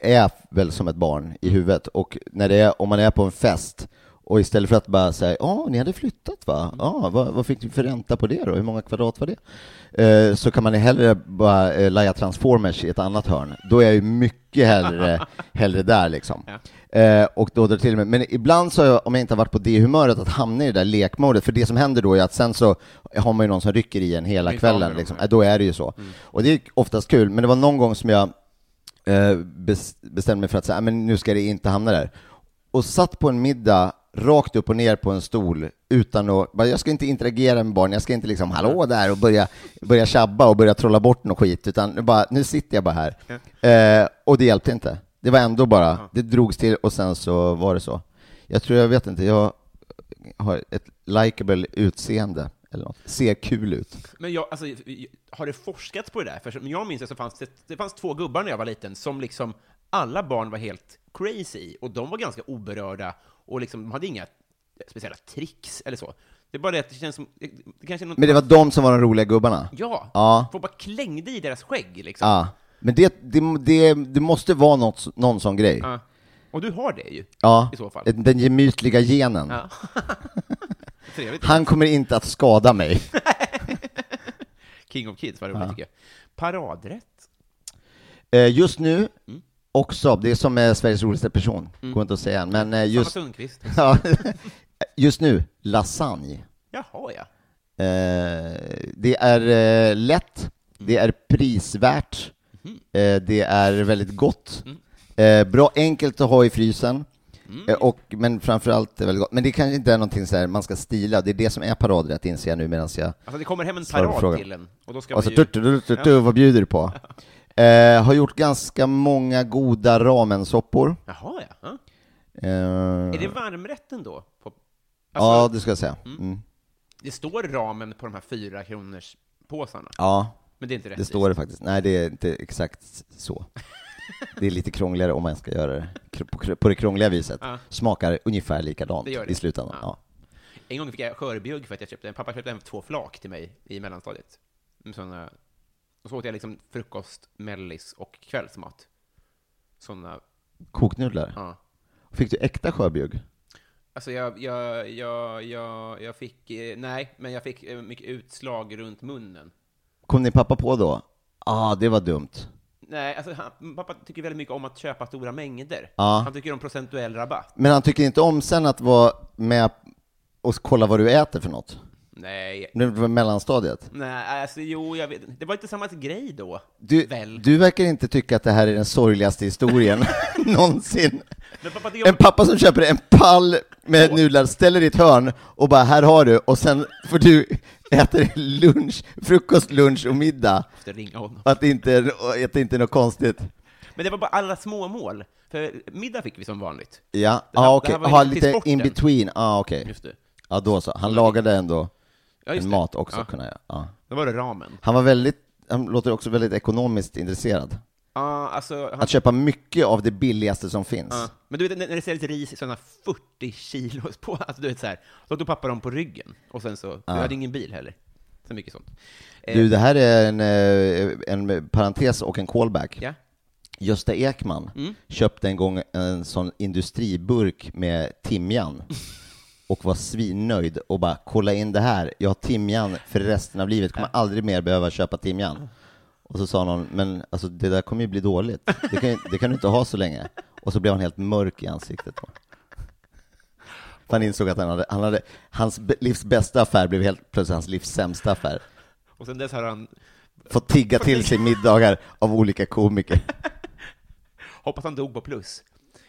Speaker 3: är väl som ett barn i huvudet. Och när det är, om man är på en fest och istället för att bara säga ja, ni hade flyttat va? Ja, vad, vad fick ni för ränta på det då? Hur många kvadrat var det? Eh, så kan man ju hellre bara eh, laja Transformers i ett annat hörn. Då är jag ju mycket hellre, hellre där liksom. Eh, och då drar det till mig. Men ibland så har jag, om jag inte har varit på det humöret, att hamna i det där lekmodet. För det som händer då är att sen så har man ju någon som rycker i en hela
Speaker 2: Inte av med
Speaker 3: kvällen.
Speaker 2: dem,
Speaker 3: Liksom.
Speaker 2: nej.
Speaker 3: Eh, Då är det ju så. Och det är oftast kul, men det var någon gång som jag eh, bes- bestämde mig för att säga, "Ah, men nu ska det inte hamna där. Och satt på en middag rakt upp och ner på en stol utan att, bara, jag ska inte interagera med barn, jag ska inte liksom hallå där och börja, börja tjabba och börja trolla bort något skit, utan bara, nu sitter jag bara här. Eh, och det hjälpte inte. Det var ändå bara, det drogs till och sen så var det så. Jag tror, jag vet inte, jag har ett likable utseende eller något. Ser kul ut.
Speaker 2: Men jag, alltså, har det forskats på det där? För som jag minns det så fanns det, det fanns två gubbar när jag var liten som liksom alla barn var helt crazy i, och de var ganska oberörda och liksom, de hade inga speciella tricks eller så. Det är bara det att det känns som, det, det kanske är något,
Speaker 3: Men det var de som var de roliga gubbarna?
Speaker 2: ja,
Speaker 3: Ja.
Speaker 2: folk bara klängde i deras skägg liksom.
Speaker 3: Ja. Men det, det, det, det måste vara något, någon sån grej.
Speaker 2: Ja. Och du har det ju,
Speaker 3: Ja.
Speaker 2: i så fall.
Speaker 3: Den gemytliga genen.
Speaker 2: Ja. Trevligt.
Speaker 3: Han kommer inte att
Speaker 2: [laughs]
Speaker 3: skada mig.
Speaker 2: King of Kids, vad roligt tycker jag. Paradrätt?
Speaker 3: Eh, Just nu,
Speaker 2: Mm.
Speaker 3: också, det är som eh, Sveriges roligaste person, går inte att säga än, men eh,
Speaker 2: Just...
Speaker 3: just,
Speaker 2: Sanna Sundqvist?
Speaker 3: [laughs] ja, just nu, lasagne.
Speaker 2: Jaha, ja. Mm.
Speaker 3: Eh, Det är eh, lätt, det är prisvärt,
Speaker 2: Mhm.
Speaker 3: eh, det är väldigt gott,
Speaker 2: Mm.
Speaker 3: eh, bra enkelt att ha i frysen, eh, och, men framförallt är väldigt gott. Men det kanske inte är någonting så här man ska stila, det är det som är paradrätt inser jag nu medan jag
Speaker 2: Alltså det kommer hem en
Speaker 3: Svarar på
Speaker 2: parad
Speaker 3: frågan. Alltså,
Speaker 2: till en, och då ska
Speaker 3: och så
Speaker 2: man ju...
Speaker 3: tu, tu, tu, tu, tu, vad bjuder
Speaker 2: [laughs]
Speaker 3: du på? Eh, har gjort ganska många goda ramensoppor.
Speaker 2: Jaha, ja. ja.
Speaker 3: Eh,
Speaker 2: Är det varmrätten då? På... Alltså,
Speaker 3: ja, det ska jag säga. Mm.
Speaker 2: det står ramen på de här fyra kronors påsarna,
Speaker 3: Ja,
Speaker 2: men det är inte rätt.
Speaker 3: det står det faktiskt. Nej, det är inte exakt så. Det är lite krångligare om man ska göra det kr- på kr- på det krångliga viset.
Speaker 2: Ja.
Speaker 3: Smakar ungefär likadant
Speaker 2: Det gör det.
Speaker 3: i slutändan.
Speaker 2: Ja.
Speaker 3: Ja.
Speaker 2: En gång fick jag skörbjugg för att jag köpte, pappa köpte hem två flak till mig i mellanstadiet. Med Såna, och så åt jag liksom frukost, mellis och kvällsmat. Sådana,
Speaker 3: Koknudlar.
Speaker 2: ja.
Speaker 3: Fick du äkta skörbjugg?
Speaker 2: Alltså jag, jag, jag, jag, jag fick, eh, nej, men jag fick eh, mycket utslag runt munnen.
Speaker 3: Kom din pappa på då? Ah, det var dumt.
Speaker 2: Nej, alltså han, pappa tycker väldigt mycket om att köpa stora mängder.
Speaker 3: Ja.
Speaker 2: Han tycker om procentuell rabatt.
Speaker 3: Men han tycker inte om sen att vara med och kolla vad du äter för något?
Speaker 2: Nej,
Speaker 3: Det var mellanstadiet?
Speaker 2: nej, alltså jo, jag vet Det var inte samma grej då,
Speaker 3: Du,
Speaker 2: väl?
Speaker 3: du verkar inte tycka att det här är den
Speaker 2: [laughs]
Speaker 3: sorgligaste historien [laughs] någonsin.
Speaker 2: Men pappa tycker om...
Speaker 3: En pappa som köper en pall med nudlar, ställer i ett hörn och bara ”här har du” och sen får du [laughs] äta lunch, frukost, lunch och middag.
Speaker 2: Måste ringa honom.
Speaker 3: Och att det inte är, och att det inte är något konstigt.
Speaker 2: Men det var bara alla småmål. För middag fick vi som vanligt.
Speaker 3: Ja,
Speaker 2: Det här-
Speaker 3: ah, okej.
Speaker 2: det här var
Speaker 3: Aha,
Speaker 2: ju till
Speaker 3: lite
Speaker 2: sporten.
Speaker 3: in between. Ah, okej.
Speaker 2: Just det.
Speaker 3: Ja, då så. Han lagade ändå
Speaker 2: Ja, just
Speaker 3: en
Speaker 2: det.
Speaker 3: mat också.
Speaker 2: Ja,
Speaker 3: Kunna, jag- ja.
Speaker 2: Då var det ramen.
Speaker 3: Han var väldigt, han låter också väldigt ekonomiskt intresserad.
Speaker 2: Ja, alltså... Han,
Speaker 3: Att köpa mycket av det billigaste som finns.
Speaker 2: ja. Men du vet, när när det säljs ris i sådana 40 kilos på, alltså du vet så här, då tog pappa dem på ryggen. Och sen så, jag hade ingen bil heller. Så mycket sånt. Eh,
Speaker 3: Du, det här är en, eh, en parentes och en callback.
Speaker 2: Ja.
Speaker 3: Gösta Ekman köpte en gång en sån industriburk med timjan och var svinnöjd och bara ”kolla in det här, jag har timjan för resten av livet, kommer aldrig mer behöva köpa timjan”. Och så sa någon ”men alltså, det där kommer ju bli dåligt, det kan, ju- det kan du inte ha så länge”. Och så blev han helt mörk i ansiktet. Då. För han insåg att han hade, han hade, hans b- livs bästa affär blev helt plötsligt hans livs sämsta affär.
Speaker 2: Och sen dess har han,
Speaker 3: Fått tigga till sig middagar av olika komiker.
Speaker 2: hoppas han dog på plus.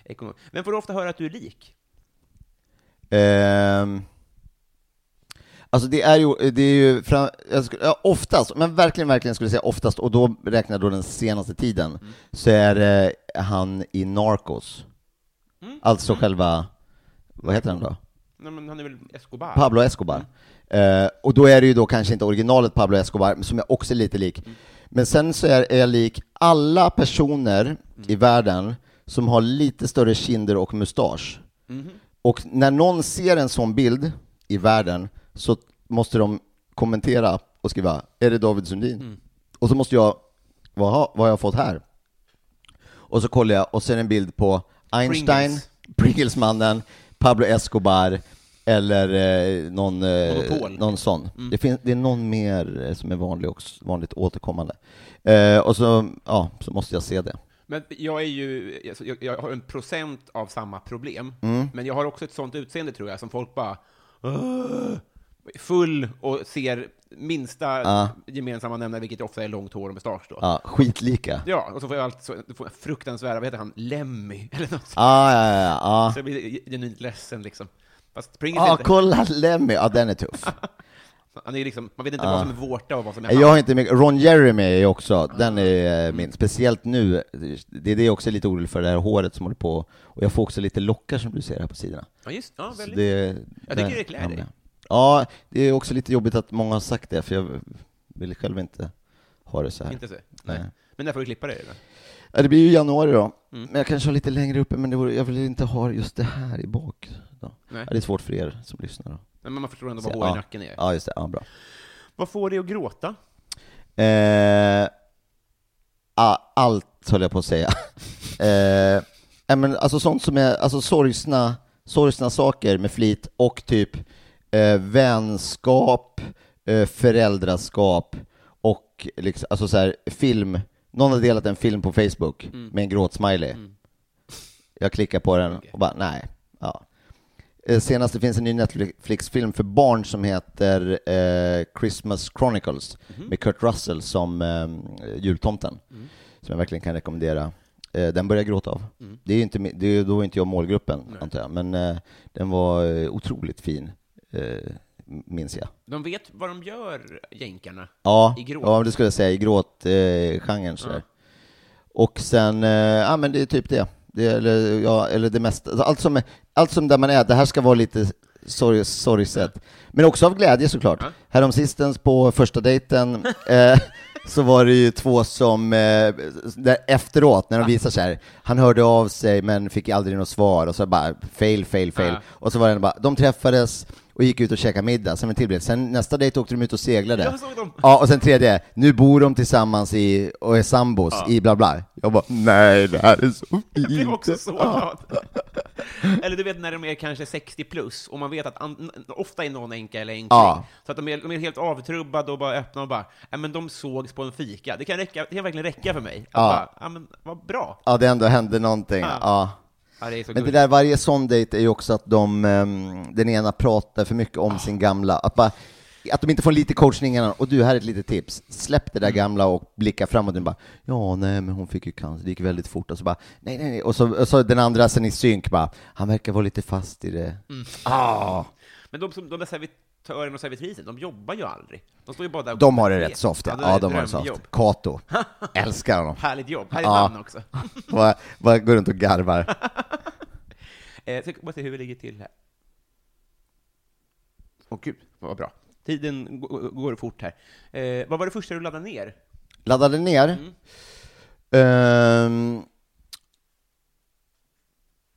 Speaker 2: Ekonom. Men får du ofta höra att du är lik?
Speaker 3: Ehm, alltså det är ju, det är ju fram, jag skulle, ja, oftast, men verkligen, verkligen skulle jag säga oftast, och då räknar jag då den senaste tiden, så är det han i Narcos. Alltså själva, vad heter han då?
Speaker 2: Nej, men han är väl Escobar?
Speaker 3: Pablo Escobar. Eh, och då är det ju då kanske inte originalet Pablo Escobar, men som jag också är lite lik.
Speaker 2: Mm.
Speaker 3: Men sen så är, är jag lik alla personer
Speaker 2: Mm.
Speaker 3: i världen som har lite större kinder och mustasch.
Speaker 2: Mm-hmm.
Speaker 3: Och när någon ser en sån bild i världen så måste de kommentera och skriva ”Är det David Sundin?”
Speaker 2: Mm.
Speaker 3: Och så måste jag ”Vad har vad har jag fått här?” Och så kollar jag och ser en bild på Einstein,
Speaker 2: Pringles.
Speaker 3: Pringlesmannen, Pablo Escobar eller eh, någon, eh,
Speaker 2: Monopol. Mm.
Speaker 3: någon sån. Det, finns, det är någon mer eh, som är vanlig också, vanligt återkommande. Eh, och så, ja, så måste jag se det.
Speaker 2: Men jag är ju, alltså, jag, jag har en procent av samma problem,
Speaker 3: Mm.
Speaker 2: men jag har också ett sånt utseende tror jag, som folk bara "Åh!" full och ser minsta gemensamma nämnare, vilket ofta är långt hår och mustasch då.
Speaker 3: Ja, skitlika.
Speaker 2: Ja, och så får jag allt så, då får jag fruktansvärda, vad heter han, Lemmy, [laughs] eller något.
Speaker 3: Ah, ja, ja, ja. Ah.
Speaker 2: Så jag blir genuint ledsen liksom. Fast Pringles är
Speaker 3: Ja,
Speaker 2: inte,
Speaker 3: kolla Lemmy! Ja, den
Speaker 2: [laughs]
Speaker 3: är tuff.
Speaker 2: han är ju liksom, man vet inte vad som är vårta och vad som är
Speaker 3: Jag har inte mycket. Ron Jeremy är också, den är eh, min. Speciellt nu, det är det jag också är lite orolig för, det här håret som håller på. Och jag får också lite lockar som du ser här på sidorna.
Speaker 2: Ja, just ja,
Speaker 3: Så
Speaker 2: väldigt.
Speaker 3: det,
Speaker 2: Jag
Speaker 3: där
Speaker 2: tycker det klär
Speaker 3: hamnar
Speaker 2: dig.
Speaker 3: jag. Ja, det är också lite jobbigt att många har sagt det, för jag vill själv inte ha det så här.
Speaker 2: Inte så? Nej.
Speaker 3: Nej.
Speaker 2: Men när får du klippa dig? Eller?
Speaker 3: Ja, det blir ju januari då,
Speaker 2: Mm.
Speaker 3: men jag kanske har lite längre uppe, men det vore, jag vill inte ha just det här i bak. Då.
Speaker 2: Nej.
Speaker 3: Ja, det är svårt för er som lyssnar. Då.
Speaker 2: Nej, Men man förstår ändå
Speaker 3: Så,
Speaker 2: vad hår i
Speaker 3: ja,
Speaker 2: nacken är.
Speaker 3: ja, just det. Ja, bra.
Speaker 2: Vad får dig att gråta?
Speaker 3: Eh, a- allt höll jag på att säga. [laughs] eh, nej, men alltså sånt som är alltså sorgsna, sorgsna saker med flit och typ eh, vänskap, eh, föräldraskap och liksom, alltså så här, film. Någon har delat en film på Facebook med en gråtsmiley. Jag klickar på den och bara nej. Ja. Eh, Senast det finns en ny Netflix-film för barn som heter eh, Christmas Chronicles med Kurt Russell som eh, jultomten, som jag verkligen kan rekommendera. Eh, den börjar jag gråta av. Det är ju inte, mi- det är, då är inte jag målgruppen, antar jag, men eh, den var eh, otroligt fin, eh, minns jag.
Speaker 2: De vet vad de gör, jänkarna.
Speaker 3: Ja,
Speaker 2: I gråt.
Speaker 3: ja men det skulle jag säga, i gråtgenren. Eh, ja. Och sen, eh, ja men det är typ det. det eller, ja, eller det mesta. Alltså, Allt som, allt som där man är, det här ska vara lite sorg- sorgset. Men också av glädje såklart. Häromsistens på första dejten eh, så var det ju två som, eh, där efteråt när de visar så här, han hörde av sig men fick aldrig något svar och så bara fail, fail, fail.
Speaker 2: Ja.
Speaker 3: Och så var det bara, de träffades och gick ut och käkade middag, sen en till bild. Sen nästa dejt åkte de ut och seglade.
Speaker 2: Jag såg dem.
Speaker 3: Ja, och sen tredje, nu bor de tillsammans i, och är sambos i bla bla. Jag bara, nej det här är så
Speaker 2: [laughs]
Speaker 3: fint.
Speaker 2: Jag blev också så glad. [laughs] Eller du vet när de är kanske 60 plus och man vet att an- n- ofta är någon änka eller änkling.
Speaker 3: Ja.
Speaker 2: Så att de är, de är helt avtrubbade och bara öppna och bara, nej men de sågs på en fika. Det kan, räcka, det kan verkligen räcka för mig. Ja. Bara, ja men vad bra.
Speaker 3: Ja, det ändå hände någonting.
Speaker 2: Ja.
Speaker 3: Ja.
Speaker 2: Ja, det är så
Speaker 3: Men det
Speaker 2: gulligt.
Speaker 3: där, varje sån dejt är ju också att de, ehm, den ena pratar för mycket om sin gamla, att, bara, att de inte får lite coachning innan. Och du, här är ett litet tips. Släpp
Speaker 2: Mm.
Speaker 3: det där gamla och blicka framåt. Och bara, ja, nej, men hon fick ju cancer, det gick väldigt fort. Och så bara, nej, nej, nej. Och så, och så den andra sen i synk bara, han verkar vara lite fast i det. Ah.
Speaker 2: Men de, som, de där servitören och servitrisen, de jobbar ju aldrig. De står ju bara där och
Speaker 3: De har det
Speaker 2: vet.
Speaker 3: rätt soft, ja.
Speaker 2: det där
Speaker 3: ja
Speaker 2: är
Speaker 3: de har det
Speaker 2: ett
Speaker 3: soft.
Speaker 2: drömjobb. [laughs]
Speaker 3: Kato. Älskar honom.
Speaker 2: Härligt jobb, härligt
Speaker 3: Ja.
Speaker 2: namn också. [laughs]
Speaker 3: Bara, bara går runt och garvar.
Speaker 2: Eh, så bara se hur vi ligger till här. Åh gud, vad bra. Tiden g- går fort här. Eh, vad var det första du laddade ner?
Speaker 3: Laddade ner.
Speaker 2: Mm.
Speaker 3: Ehm,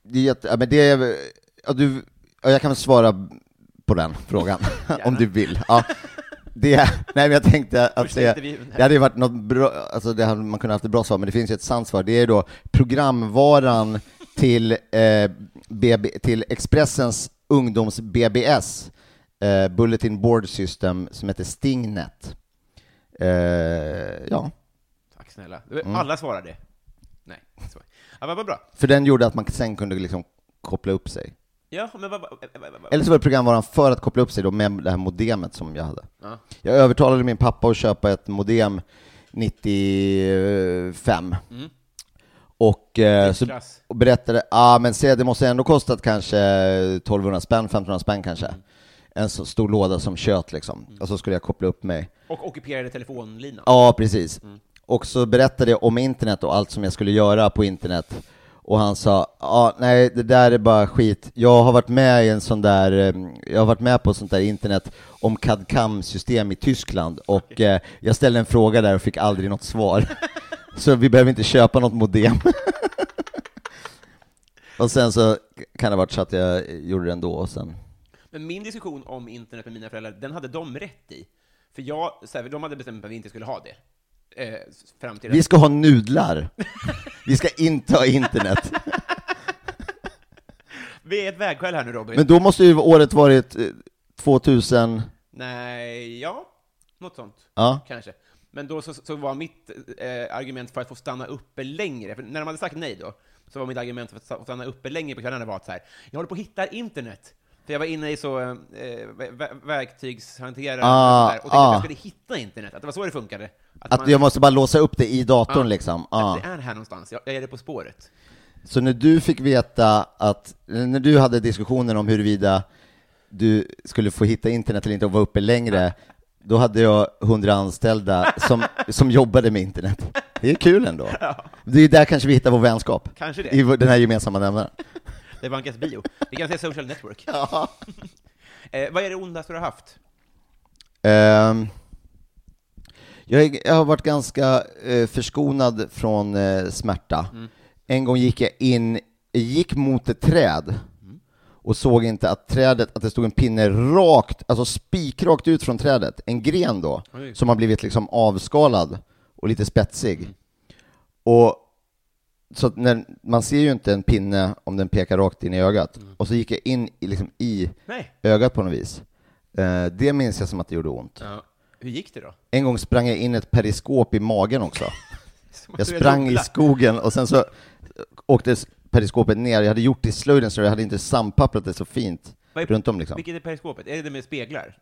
Speaker 3: det är jätte, ja, men det är, ja, du, ja, jag kan väl svara på den
Speaker 2: [laughs]
Speaker 3: frågan, om du vill. Ja. Det, nej men jag tänkte att
Speaker 2: Första
Speaker 3: det,
Speaker 2: intervjun här.
Speaker 3: det hade ju varit något bra, alltså det hade man kunnat haft ett bra svar, men det finns ju ett sant svar. Det är då programvaran till, eh, BB, till Expressens ungdoms-BBS, eh, Bulletin Board System, som heter Stingnet. Eh, ja,
Speaker 2: Tack snälla. Det var-
Speaker 3: Mm.
Speaker 2: Alla svarade. Nej, så. Ja, vad vad bra.
Speaker 3: för den gjorde att man sen kunde liksom koppla upp sig.
Speaker 2: Ja, men vad... vad- vad- vad- vad-
Speaker 3: Eller så var det programvaran för att koppla upp sig då med det här modemet som jag hade.
Speaker 2: Ja.
Speaker 3: Jag övertalade min pappa att köpa ett modem 95. Och, eh, så,
Speaker 2: Mm. Klass.
Speaker 3: och berättade, ah, men se det måste ändå kostat kanske 1200 spänn, 1500 spänn kanske.
Speaker 2: Mm.
Speaker 3: En så stor låda som kött liksom. Och så skulle jag koppla upp mig.
Speaker 2: Och ockuperade telefonlinan.
Speaker 3: Ja, precis. Och så berättade jag om internet och allt som jag skulle göra på internet. Och han sa, ja, nej, det där är bara skit. Jag har varit med i en sån där, eh, jag har varit med på sånt där internet om cad system i Tyskland och eh, jag ställde en fråga där och fick aldrig något svar. [laughs] så vi behöver inte köpa något modem. [laughs] och sen så kan det ha varit så att jag gjorde det ändå och sen
Speaker 2: Men min diskussion om internet med mina föräldrar, den hade de rätt i. För jag, så här, de hade bestämt att vi inte skulle ha det. Eh, s- fram till
Speaker 3: Vi ska ha nudlar. Vi ska inte ha internet.
Speaker 2: vi är ett vägskäl här nu, Robin.
Speaker 3: Men då måste ju året varit eh, 2000,
Speaker 2: Nej, ja, något sånt.
Speaker 3: Ja.
Speaker 2: Kanske. Men då så, så var mitt eh, argument för att få stanna uppe längre, för när de hade sagt nej då, så var mitt argument för att sta- få stanna uppe längre på kvällarna var att så här, jag håller på att hitta internet. För jag var inne i så eh, vä- vä- verktygshanterare
Speaker 3: Ah,
Speaker 2: och, sånt där, och tänkte att
Speaker 3: ah.
Speaker 2: jag skulle hitta internet, att det var så det funkade. Att,
Speaker 3: att jag måste bara låsa upp det i datorn
Speaker 2: Ja.
Speaker 3: liksom.
Speaker 2: att
Speaker 3: Ja.
Speaker 2: det är här någonstans, jag, jag är det på spåret.
Speaker 3: Så när du fick veta att, när du hade diskussionen om huruvida du skulle få hitta internet eller inte och vara uppe längre, då hade jag
Speaker 2: [laughs]
Speaker 3: hundra anställda som, som jobbade med internet. Det är kul ändå. Det är där kanske vi hittar vår vänskap.
Speaker 2: Kanske det.
Speaker 3: I vår- den här gemensamma nämnaren.
Speaker 2: Det vankas bio. Vi kan säga social network. [laughs] eh, vad är det ondaste du har haft?
Speaker 3: Ehm, jag, är, jag har varit ganska eh, förskonad från eh, smärta. En gång gick jag in, gick mot ett träd och såg inte att trädet, att det stod en pinne rakt, alltså spikrakt ut från trädet, en gren då,
Speaker 2: Oj.
Speaker 3: som har blivit liksom avskalad och lite spetsig. Och så att när, man ser ju inte en pinne om den pekar rakt in i ögat. Och så gick jag in i, liksom i
Speaker 2: Nej.
Speaker 3: ögat på något vis. Eh, det minns jag som att det gjorde ont.
Speaker 2: Ja. Hur gick det då?
Speaker 3: En gång sprang jag in ett periskop i magen också.
Speaker 2: [laughs] Som att
Speaker 3: Jag
Speaker 2: du är
Speaker 3: sprang i
Speaker 2: dubbla.
Speaker 3: skogen och sen så eh, åkte s- periskopet ner, jag hade gjort det i slöjden så jag hade inte sandpapprat det så fint
Speaker 2: Vad är-
Speaker 3: runt om liksom.
Speaker 2: Vilket är periskopet? Är det det med speglar?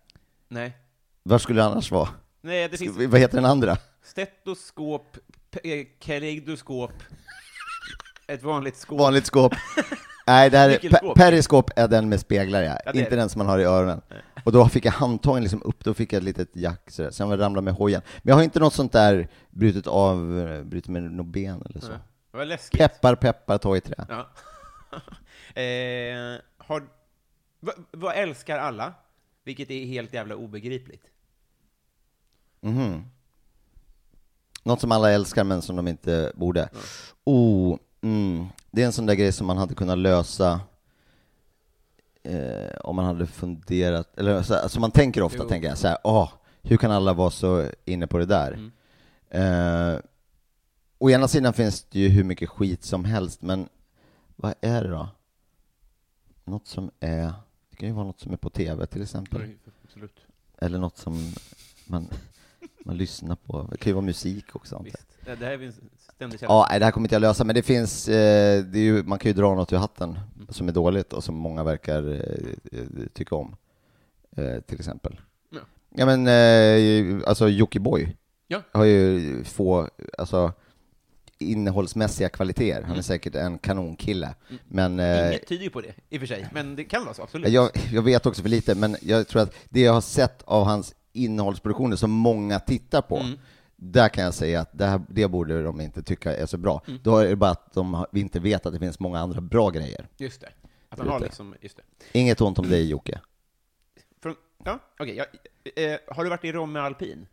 Speaker 2: Nej.
Speaker 3: Var skulle det annars vara?
Speaker 2: Nej, det finns
Speaker 3: Vad heter
Speaker 2: [laughs]
Speaker 3: den andra?
Speaker 2: stetoskop, pe- eh,
Speaker 3: [laughs]
Speaker 2: kaleidoskop, ett vanligt skåp. [laughs]
Speaker 3: Vanligt skåp. Nej, det här är,
Speaker 2: Nyckelskåp.
Speaker 3: pe- periskop är den med speglar, ja.
Speaker 2: Ja, det är
Speaker 3: inte
Speaker 2: det.
Speaker 3: den som man har i öronen. Och då fick jag handtagen liksom upp, då fick jag ett litet jack sådär. Sen var jag ramlade med hojen. Men jag har inte något sånt där brutit av, eh, brutit med något ben eller så.
Speaker 2: Ja. Vad läskigt.
Speaker 3: Peppar, peppar, ta i trä.
Speaker 2: Ja. [laughs] eh, har, va, vad älskar alla? Vilket är helt jävla obegripligt.
Speaker 3: Något som alla älskar men som de inte borde. Oh, mm. Det är en sån där grej som man hade kunnat lösa eh, om man hade funderat, eller så här, som man tänker ofta,
Speaker 2: Jo.
Speaker 3: tänker jag så här, "Ah, hur kan alla vara så inne på det där? Eh, å ena sidan finns det ju hur mycket skit som helst, men vad är det då? Något som är, det kan ju vara något som är på tv till exempel.
Speaker 2: Absolut.
Speaker 3: Eller något som man, man lyssnar på. Det kan ju vara musik också. antar jag.
Speaker 2: Visst. Ja, Det här är en ständig känsla.
Speaker 3: Ja, nej, det här kommer inte jag lösa, men det finns, eh, det är ju, man kan ju dra något ur hatten
Speaker 2: Mm.
Speaker 3: som är dåligt och som många verkar eh, eh, tycka om, eh, till exempel.
Speaker 2: Ja.
Speaker 3: Ja men, eh, alltså Jockiboi
Speaker 2: Ja.
Speaker 3: har ju få, alltså innehållsmässiga kvaliteter. Han är säkert en kanonkille, men eh,
Speaker 2: Mm. Inget tyder ju på det, i och för sig, men det kan vara så, absolut.
Speaker 3: jag, jag vet också för lite, men jag tror att det jag har sett av hans innehållsproduktioner som många tittar på,
Speaker 2: Mm.
Speaker 3: där kan jag säga att det, här, det borde de inte tycka är så bra.
Speaker 2: Mm.
Speaker 3: Då är det bara att de har- vi inte vet att det finns många andra bra grejer.
Speaker 2: Just det. Att han har
Speaker 3: Lite.
Speaker 2: liksom, just det.
Speaker 3: Inget ont om dig Jocke.
Speaker 2: Från, ja, okej. jag- eh, har du varit i Romme Alpin?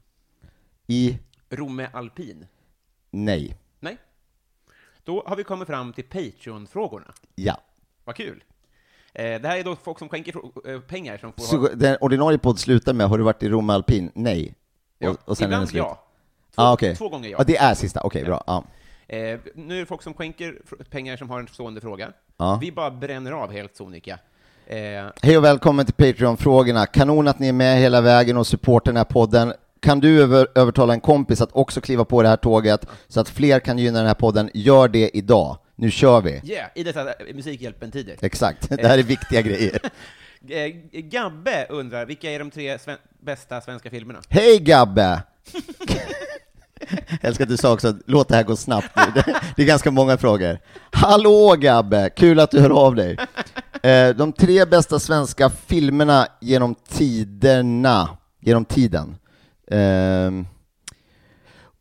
Speaker 3: I
Speaker 2: Romme Alpin?
Speaker 3: nej.
Speaker 2: Nej? Då har vi kommit fram till Patreon-frågorna.
Speaker 3: Ja.
Speaker 2: Vad kul! Eh, det här är då folk som skänker fro- eh, pengar som får
Speaker 3: Så den ordinarie podd slutar med, har du varit i Rom Alpin? Nej.
Speaker 2: Ja,
Speaker 3: är den
Speaker 2: ibland
Speaker 3: slut.
Speaker 2: ja. Två,
Speaker 3: Ah, okej.
Speaker 2: två gånger ja.
Speaker 3: Ja, det är sista. Okej, bra. Ja.
Speaker 2: Eh, nu är det folk som skänker fr- pengar som har en stående fråga.
Speaker 3: Ja.
Speaker 2: Vi bara bränner av helt sonika. Eh,
Speaker 3: Hej och välkommen till Patreon-frågorna. Kanon att ni är med hela vägen och supportar den här podden. Kan du över, övertala en kompis att också kliva på det här tåget så att fler kan gynna den här podden? Gör det idag. Nu kör vi.
Speaker 2: yeah, i dessa eh, Musikhjälpen-tider.
Speaker 3: Exakt, [laughs] det här är viktiga grejer.
Speaker 2: Eh, Gabbe undrar, vilka är de tre sven- bästa svenska filmerna?
Speaker 3: Hej Gabbe! Jag älskar att du sa också, låt det här gå snabbt nu. Det- Det är ganska många frågor. Hallå Gabbe, kul att du hör av dig. Eh, De tre bästa svenska filmerna genom tiderna, genom tiden. Ehm,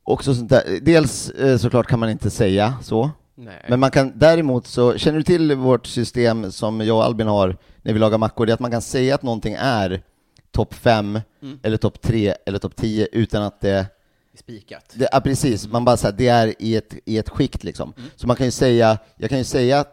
Speaker 3: Också sånt där. Dels eh, såklart kan man inte säga så,
Speaker 2: Nej.
Speaker 3: men man kan däremot så, känner du till vårt system som jag och Albin har när vi lagar mackor, det är att man kan säga att någonting är topp 5 eller topp 3 eller topp 10 utan att det
Speaker 2: Spikat.
Speaker 3: det, ja, precis. Man bara säger det är i ett, i ett skikt liksom.
Speaker 2: Mm.
Speaker 3: Så man kan ju säga, jag kan ju säga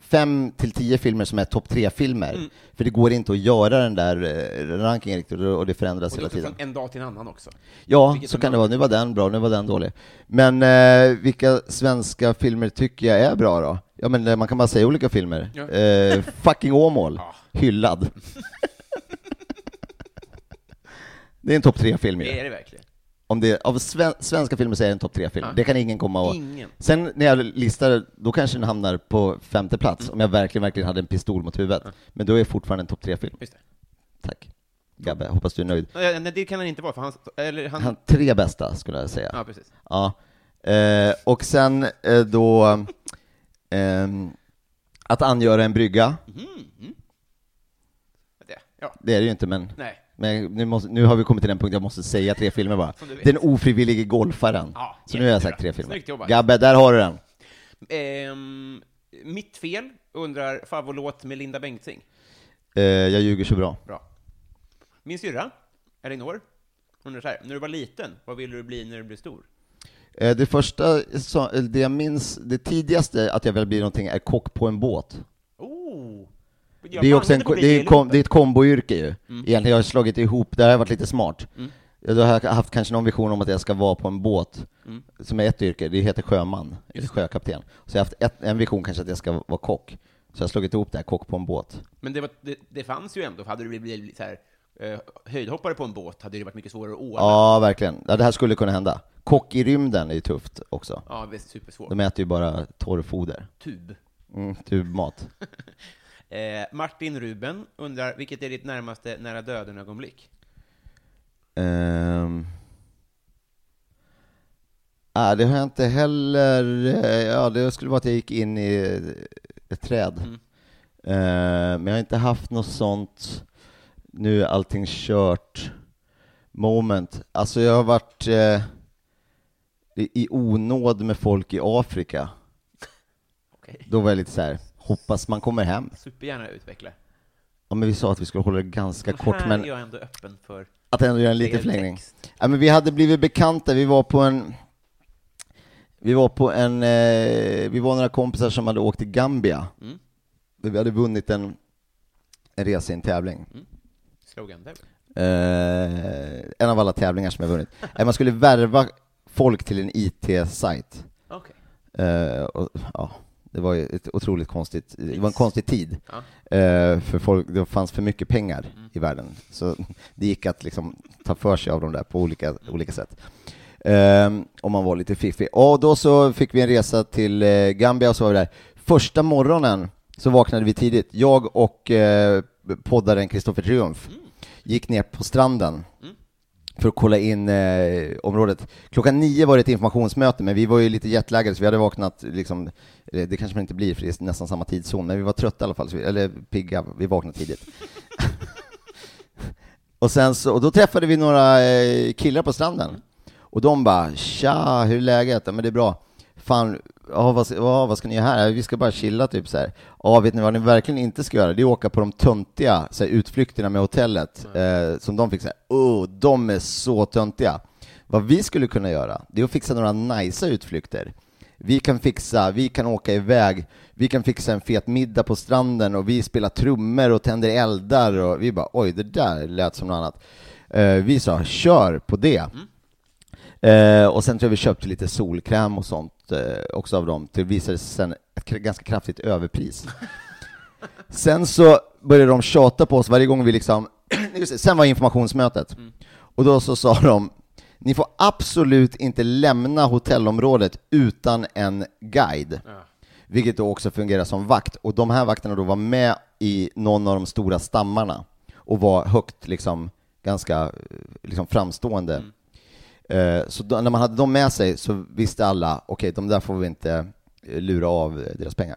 Speaker 3: fem till tio filmer som är topp tre filmer.
Speaker 2: Mm.
Speaker 3: För det går inte att göra den där eh, rankingen riktigt och och det förändras
Speaker 2: Och det är
Speaker 3: hela
Speaker 2: också
Speaker 3: tiden.
Speaker 2: från en dag till en annan också.
Speaker 3: Ja,
Speaker 2: vilket
Speaker 3: så
Speaker 2: som
Speaker 3: kan
Speaker 2: är-
Speaker 3: det vara. Nu var den bra, nu var den dålig. Men eh, vilka svenska filmer tycker jag är bra då? Ja, men eh, man kan bara säga olika filmer.
Speaker 2: Ja.
Speaker 3: Eh, fucking Åmål,
Speaker 2: [laughs]
Speaker 3: hyllad. det är en topp tre film ju.
Speaker 2: Det är det verkligen.
Speaker 3: Om det, av sven, svenska filmer så är det en topp tre film. Det kan ingen komma och...
Speaker 2: Ingen.
Speaker 3: Sen när jag listar, då kanske den hamnar på femte plats,
Speaker 2: Mm.
Speaker 3: om jag verkligen, verkligen hade en pistol mot huvudet. Men då är det fortfarande en topp tre film.
Speaker 2: Just det.
Speaker 3: Tack. Gabbe, hoppas du är nöjd.
Speaker 2: Nej, nej, det kan han inte vara, för han... Eller han,
Speaker 3: Han tre bästa, skulle jag säga.
Speaker 2: Ja, precis.
Speaker 3: Ja. Eh, och sen eh, då, ehm, att angöra en brygga.
Speaker 2: Mm-hmm. Det. Ja.
Speaker 3: Det är det ju inte, men...
Speaker 2: Nej.
Speaker 3: Men nu, måste, nu har vi kommit till den punkt jag måste säga tre filmer bara.
Speaker 2: Som du vet.
Speaker 3: Den ofrivillige golfaren.
Speaker 2: Ja,
Speaker 3: så nu har jag
Speaker 2: jättebra.
Speaker 3: sagt tre filmer.
Speaker 2: Snyggt jobbat.
Speaker 3: Gabbe, där har du den.
Speaker 2: Ehm, mitt fel undrar favoritlåt med Linda Bengtzing.
Speaker 3: Eh, jag ljuger så bra.
Speaker 2: Bra. Min syrra, Elinor, hon undrar så här, när du var liten, vad ville du bli när du blev stor?
Speaker 3: Eh, det första, så, eller det jag minns, det tidigaste att jag vill bli någonting är kock på en båt.
Speaker 2: Oh! Jag
Speaker 3: Det är, också en,
Speaker 2: blandade på
Speaker 3: ko- det, är
Speaker 2: dig
Speaker 3: kom, det är ett komboyrke ju. Egentligen, jag har slagit ihop, där har jag varit lite smart. Jag Då har jag haft kanske någon vision om att jag ska vara på en båt, som är ett yrke, det heter sjöman, eller sjökapten. Så jag har haft ett, en vision kanske att jag ska vara kock. Så jag har slagit ihop det här, kock på en båt.
Speaker 2: Men det, var, det, det fanns ju ändå, hade du blivit så här, eh, höjdhoppare på en båt hade det varit mycket svårare att ordna.
Speaker 3: Ja, verkligen. Ja, det här skulle kunna hända. Kock i rymden är ju tufft också.
Speaker 2: Ja, det är supersvårt.
Speaker 3: De äter ju bara torrfoder.
Speaker 2: Tub.
Speaker 3: Mm, tubmat.
Speaker 2: Eh, Martin Ruben undrar, vilket är ditt närmaste nära döden-ögonblick?
Speaker 3: Ehm. Ah, det har jag inte heller... eh, Ja, det skulle vara att jag gick in i ett träd.
Speaker 2: Mm.
Speaker 3: Ehm, men jag har inte haft något sånt, nu är allting kört, moment. Alltså jag har varit eh, i i onåd med folk i Afrika.
Speaker 2: Okej.
Speaker 3: Då var jag lite så här, hoppas man kommer hem.
Speaker 2: Supergärna utveckla.
Speaker 3: Ja, men vi sa att vi skulle hålla det ganska
Speaker 2: Men
Speaker 3: kort,
Speaker 2: här
Speaker 3: men
Speaker 2: är jag ändå öppen för...
Speaker 3: att ändå göra en
Speaker 2: Det är
Speaker 3: liten
Speaker 2: en
Speaker 3: förlängning.
Speaker 2: text.
Speaker 3: Ja, men vi hade blivit bekanta, vi var på en... Vi var på en... Eh, vi var några kompisar som hade åkt till Gambia.
Speaker 2: Mm.
Speaker 3: Där vi hade vunnit en, en resa i en tävling.
Speaker 2: Slogan där.
Speaker 3: Eh, en av alla tävlingar som jag vunnit. Eh, Man skulle värva folk till en IT-sajt.
Speaker 2: Okej.
Speaker 3: Eh, och, ja, det var ju ett otroligt konstigt, det var en konstig tid.
Speaker 2: Ja.
Speaker 3: Eh, för folk, det fanns för mycket pengar i världen. Så det gick att liksom ta för sig av dem där på olika, olika sätt. Eh, om man var lite fiffig. Och då så fick vi en resa till eh, Gambia och så var vi där. Första morgonen så vaknade vi tidigt. Jag och eh, poddaren Kristoffer Triumf gick ner på stranden för att kolla in eh, området. Klockan nio var det ett informationsmöte, men vi var ju lite jetlaggade så vi hade vaknat, liksom, eh, det kanske man inte blir för det är nästan samma tidszon, men vi var trötta i alla fall, så vi, eller pigga, vi vaknade tidigt. och, sen så, och då träffade vi några eh, killar på stranden, och de bara ”Tja, hur är läget?” ja, ”Men det är bra”. Fan, ja, vad, ska- ja, vad ska ni göra här? Ja, Vi ska bara chilla typ så här. Ja, vet ni vad ni verkligen inte ska göra? Det är att åka på de töntiga så här, utflykterna med hotellet eh, som de fick så här. Oh, de är så töntiga. Vad vi skulle kunna göra, det är att fixa några nice utflykter. Vi kan fixa, vi kan åka iväg, vi kan fixa en fet middag på stranden och vi spelar trummor och tänder eldar och vi bara oj, det där lät som något annat. Eh, vi sa kör på det. Eh, och sen tror jag vi köpte lite solkräm och sånt eh, också av dem. Det visade sig sen ett kr- ganska kraftigt överpris. sen så började de tjata på oss varje gång vi liksom... [clears throat] Just det, sen var informationsmötet. Och då så sa de, ni får absolut inte lämna hotellområdet utan en guide. Vilket då också fungerar som vakt. Och de här vakterna då var med i någon av de stora stammarna och var högt, liksom, ganska eh, liksom framstående. Eh, Så då, när man hade dem med sig så visste alla, okej, de där får vi inte eh, lura av eh, deras pengar.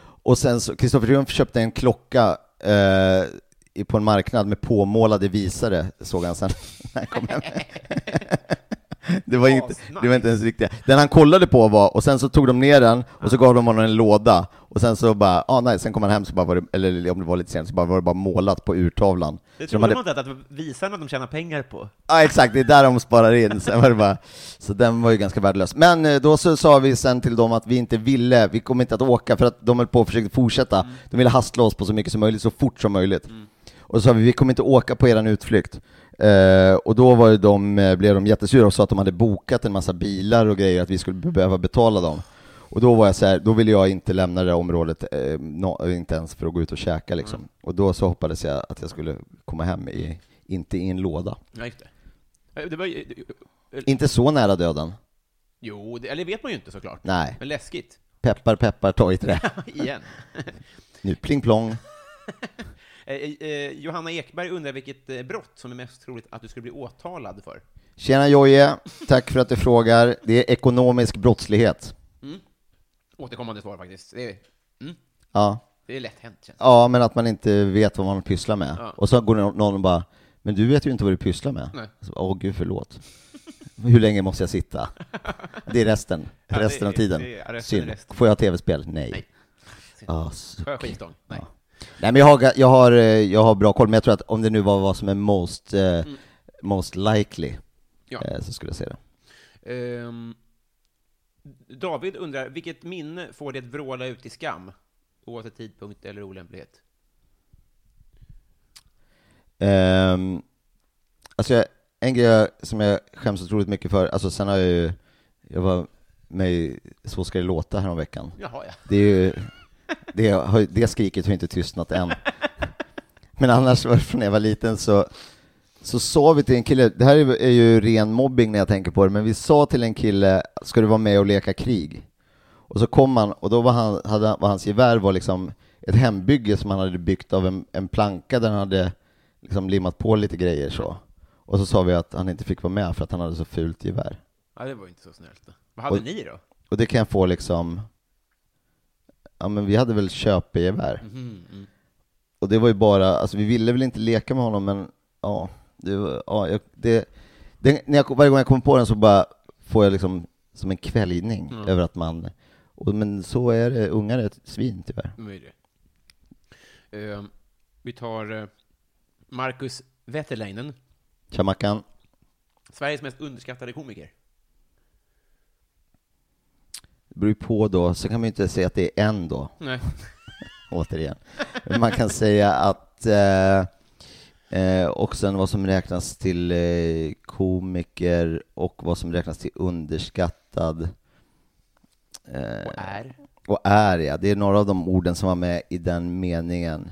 Speaker 3: Och sen så, Kristoffer Triumf köpte en klocka eh, i- på en marknad med påmålade visare, såg han sen [laughs] när han kom hem. Det var, inte, det var inte ens riktigt. Den han kollade på var, och sen så tog de ner den, och
Speaker 2: Ah.
Speaker 3: så gav de honom en låda, och sen så bara, ah, nej, sen kom han hem, så bara var det, eller om det var lite sent, så bara var det bara målat på urtavlan.
Speaker 2: Det
Speaker 3: så
Speaker 2: trodde
Speaker 3: de hade
Speaker 2: man inte att, att visarna de tjänar pengar på.
Speaker 3: Ja exakt, det är där de sparar in. Sen var det bara, så den var ju ganska värdelös. Men eh, då så sa vi sen till dem att vi inte ville, vi kommer inte att åka för att de höll på och försökte fortsätta. De ville hastla oss på så mycket som möjligt, så fort som möjligt. Och så sa vi, vi kommer inte åka på eran utflykt. Eh, och då var ju de, eh, blev de jättesura och sa att de hade bokat en massa bilar och grejer, att vi skulle behöva betala dem. Och då var jag så här, då ville jag inte lämna det där området, eh, nå- inte ens för att gå ut och käka liksom. Och då så hoppades jag att jag skulle komma hem i, inte i en låda.
Speaker 2: Ja, just det. Eh, det var, ju-
Speaker 3: Inte så nära döden.
Speaker 2: jo, det, eller vet man ju inte såklart.
Speaker 3: Nej.
Speaker 2: Men läskigt.
Speaker 3: Peppar, peppar, ta i trä.
Speaker 2: [laughs] Igen.
Speaker 3: Nu pling plong.
Speaker 2: Eh, eh, Johanna Ekberg undrar vilket eh, brott som är mest troligt att du skulle bli åtalad för.
Speaker 3: Tjena Jojje, tack för att du frågar. Det är ekonomisk brottslighet.
Speaker 2: Återkommande svar faktiskt. Det är, mm,
Speaker 3: Ja,
Speaker 2: det är lätt hänt känns det.
Speaker 3: ja men att man inte vet vad man pysslar med.
Speaker 2: Ja.
Speaker 3: Och så går någon någon och bara, men du vet ju inte vad du pysslar med.
Speaker 2: Nej.
Speaker 3: Så, Åh gud, förlåt. Hur länge måste jag sitta? Det är resten,
Speaker 2: Ja, det
Speaker 3: resten
Speaker 2: är-
Speaker 3: av tiden.
Speaker 2: det är- ja, resten är
Speaker 3: Synd.
Speaker 2: resten.
Speaker 3: Får jag tv-spel? Nej.
Speaker 2: Nej.
Speaker 3: Ah, suck.
Speaker 2: Får jag skivstång? Nej.
Speaker 3: Ja. Nej men jag har, jag, har, eh, jag har bra koll, men jag tror att om det nu var vad som är most, eh,
Speaker 2: Mm.
Speaker 3: most likely,
Speaker 2: Ja.
Speaker 3: eh, så skulle jag säga det.
Speaker 2: Ehm, David undrar, vilket minne får dig att vråla ut i skam? Oavsett tidpunkt eller olämplighet.
Speaker 3: Ehm, alltså jag, en grej jag- som jag skäms otroligt mycket för, alltså sen har jag ju, jag var med i Så ska det låta häromveckan.
Speaker 2: Jaha, ja.
Speaker 3: Det är ju, det, har, ju- det skriket har ju inte tystnat än. Men annars, var det från när jag var liten så, så sa vi till en kille, det här är ju ren mobbing när jag tänker på det, men vi sa till en kille, ska du vara med och leka krig? Och Och så kom han, och då var, han, hade, han- var hans gevär var liksom ett hembygge som han hade byggt av en, en planka där han hade liksom limmat på lite grejer så. Och så sa vi att han inte fick vara med för att han hade så fult gevär.
Speaker 2: Ja, det var ju inte så snällt. Vad hade
Speaker 3: Och-
Speaker 2: ni då?
Speaker 3: Och det kan jag få liksom, ja men vi hade väl köpegevär. Och det var ju bara, alltså vi ville väl inte leka med honom men ja, det, var- ja jag, det, det, när jag, varje gång jag kommer på den så bara får jag liksom som en kväljning över att man, och, men så är det, ungar är ett svin tyvärr.
Speaker 2: De är ju det. Eh, vi tar eh, Marcus Wetterleinen,
Speaker 3: Tja Mackan.
Speaker 2: Sveriges mest underskattade komiker.
Speaker 3: Det beror ju på då, så kan man ju inte säga att det är en då,
Speaker 2: Nej.
Speaker 3: återigen. Men man kan säga att eh, eh, och sen vad som räknas till eh, komiker och vad som räknas till underskattad eh,
Speaker 2: Och är.
Speaker 3: och är ja, det är några av de orden som var med i den meningen.